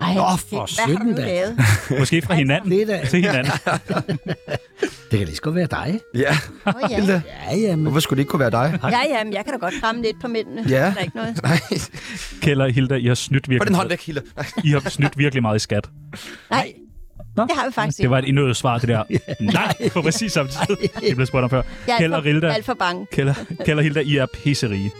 S7: Ej,
S4: Nå,
S7: det-
S4: for
S7: Hvad har
S4: søren
S7: du
S4: da.
S7: lavet?
S5: Måske fra hinanden.
S4: Det, er da,
S5: Til hinanden.
S4: det kan lige så godt være dig.
S1: Ja,
S7: Åh, ja.
S1: Hilda.
S4: Ja, ja, men
S1: Hvorfor skulle det ikke kunne være dig?
S7: ja, ja, men jeg kan da godt kramme lidt på mændene.
S1: Ja.
S7: Der er ikke noget.
S1: Nej,
S5: Kjell og Hilda, I har snydt
S1: få den hånd
S5: virkelig,
S1: væk, Hilda. Nej.
S5: I har snydt virkelig meget i skat.
S7: Nej,
S5: Nå,
S7: det har vi faktisk
S5: Det
S7: ikke.
S5: var et indøvet svar, det der. Nej, på præcis samme tid. Det blev spurgt om før.
S7: Jeg
S5: Kjell
S7: er
S5: og
S7: alt for,
S5: Hilda,
S7: alt for bange.
S5: Kjell, og- Kjell og Hilda, I er pisserige.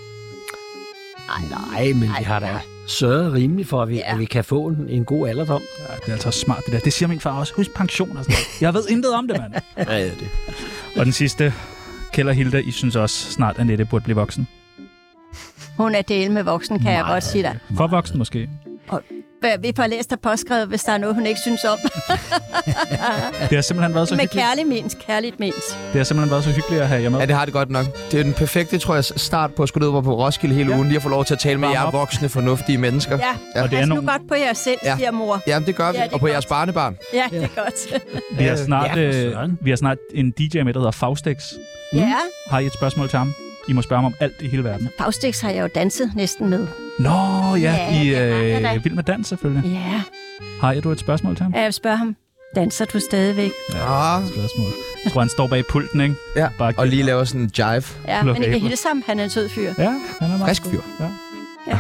S4: Nej, men vi har da sørget rimeligt for, at vi, ja. at vi kan få en, en god alderdom.
S5: Ja, det er altså smart, det der. Det siger min far også. Husk pension og sådan noget. Jeg ved intet om det, mand.
S1: Ja, ja, det.
S5: Og den sidste. Kjell og Hilda, I synes også snart, Annette burde blive voksen.
S7: Hun er del med voksen, kan jeg
S4: Nej.
S7: godt sige dig.
S5: For voksen måske.
S7: Vi får læst og påskrevet, hvis der er noget, hun ikke synes om.
S5: Det har simpelthen været så
S7: Med
S5: hyggeligt.
S7: kærlig mens, kærligt mens.
S5: Det har simpelthen været så hyggeligt at have jer med.
S1: Ja, det har det godt nok. Det er den perfekte, tror jeg, start på at skulle ned på Roskilde hele
S5: Ja.
S1: ja. ugen. Lige at få lov til at tale med
S5: Varm
S1: jer
S5: op.
S1: voksne, fornuftige mennesker.
S7: Ja,
S5: Og det er
S7: pas nu
S5: nogle-
S7: godt på jer selv,
S1: Ja.
S7: siger mor.
S1: Jamen, det gør vi.
S7: Ja, det er
S1: og på
S7: godt.
S1: jeres barnebarn.
S7: Ja, det er godt.
S5: Vi har
S4: Øh,
S5: snart,
S4: ja, for
S5: øh,
S4: søren.
S5: vi har snart en DJ med, der hedder Faustix.
S7: Ja,
S5: Har I et spørgsmål til ham? I må spørge ham om alt i hele verden.
S7: Faustix har jeg jo danset næsten med.
S5: Nå ja,
S7: Ja,
S5: I
S7: det har jeg da.
S5: øh, Vild med Dans selvfølgelig.
S7: Ja,
S5: Har I du et spørgsmål til ham?
S7: og jeg spørger ham, danser du stadigvæk?
S1: Ah,
S5: Spørgsmål. Jeg tror, han står bag pulten, ikke?
S1: ja.
S5: Bare
S1: Og lige laver sådan en jive.
S7: Ja,
S5: Luk
S7: men jeg kan
S5: æblet.
S7: hilse ham, han er en sød fyr.
S5: Ja, han er meget
S1: Frisk
S5: god.
S1: fyr.
S5: Ja.
S7: Ja.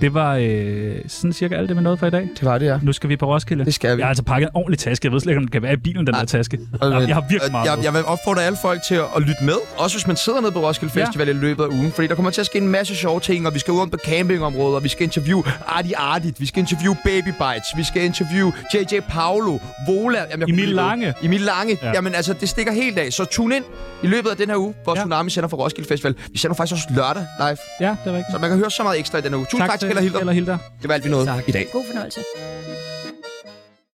S5: Det var øh, sådan cirka alt det, vi nåede for i dag.
S1: Det var det, ja.
S5: Nu skal vi på Roskilde.
S1: Det skal vi.
S5: Jeg har altså pakket en ordentlig taske. Jeg ved slet ikke, om den kan være i bilen, den der taske. Jamen, jeg har virkelig meget
S1: jeg,
S5: med.
S1: Øh, jeg vil opfordre alle folk til at, at lytte med, også hvis man sidder nede på Roskilde
S5: Ja.
S1: Festival i løbet af ugen, fordi der kommer til at ske en masse sjove ting, og vi skal ud om på campingområder, vi skal interviewe Arti Artit, vi skal interviewe Baby Bites, vi skal interviewe JJ Paolo, Vola, jamen, jeg kunne
S5: Emil
S1: blive ved.
S5: Lange.
S1: Emil Lange,
S5: Ja.
S1: ja. jamen altså, det stikker helt af, så tune ind i løbet af den her uge, hvor
S5: Ja.
S1: ja. Tsunami sender fra Roskilde Festival. Vi sender faktisk også lørdag live,
S5: Ja, det er rigtigt.
S1: så man kan høre så meget ekstra i den her uge. Tusind tak, tak til Hella Hilder.
S5: Hilder.
S1: Det var alt, vi nåede i dag.
S7: God fornøjelse.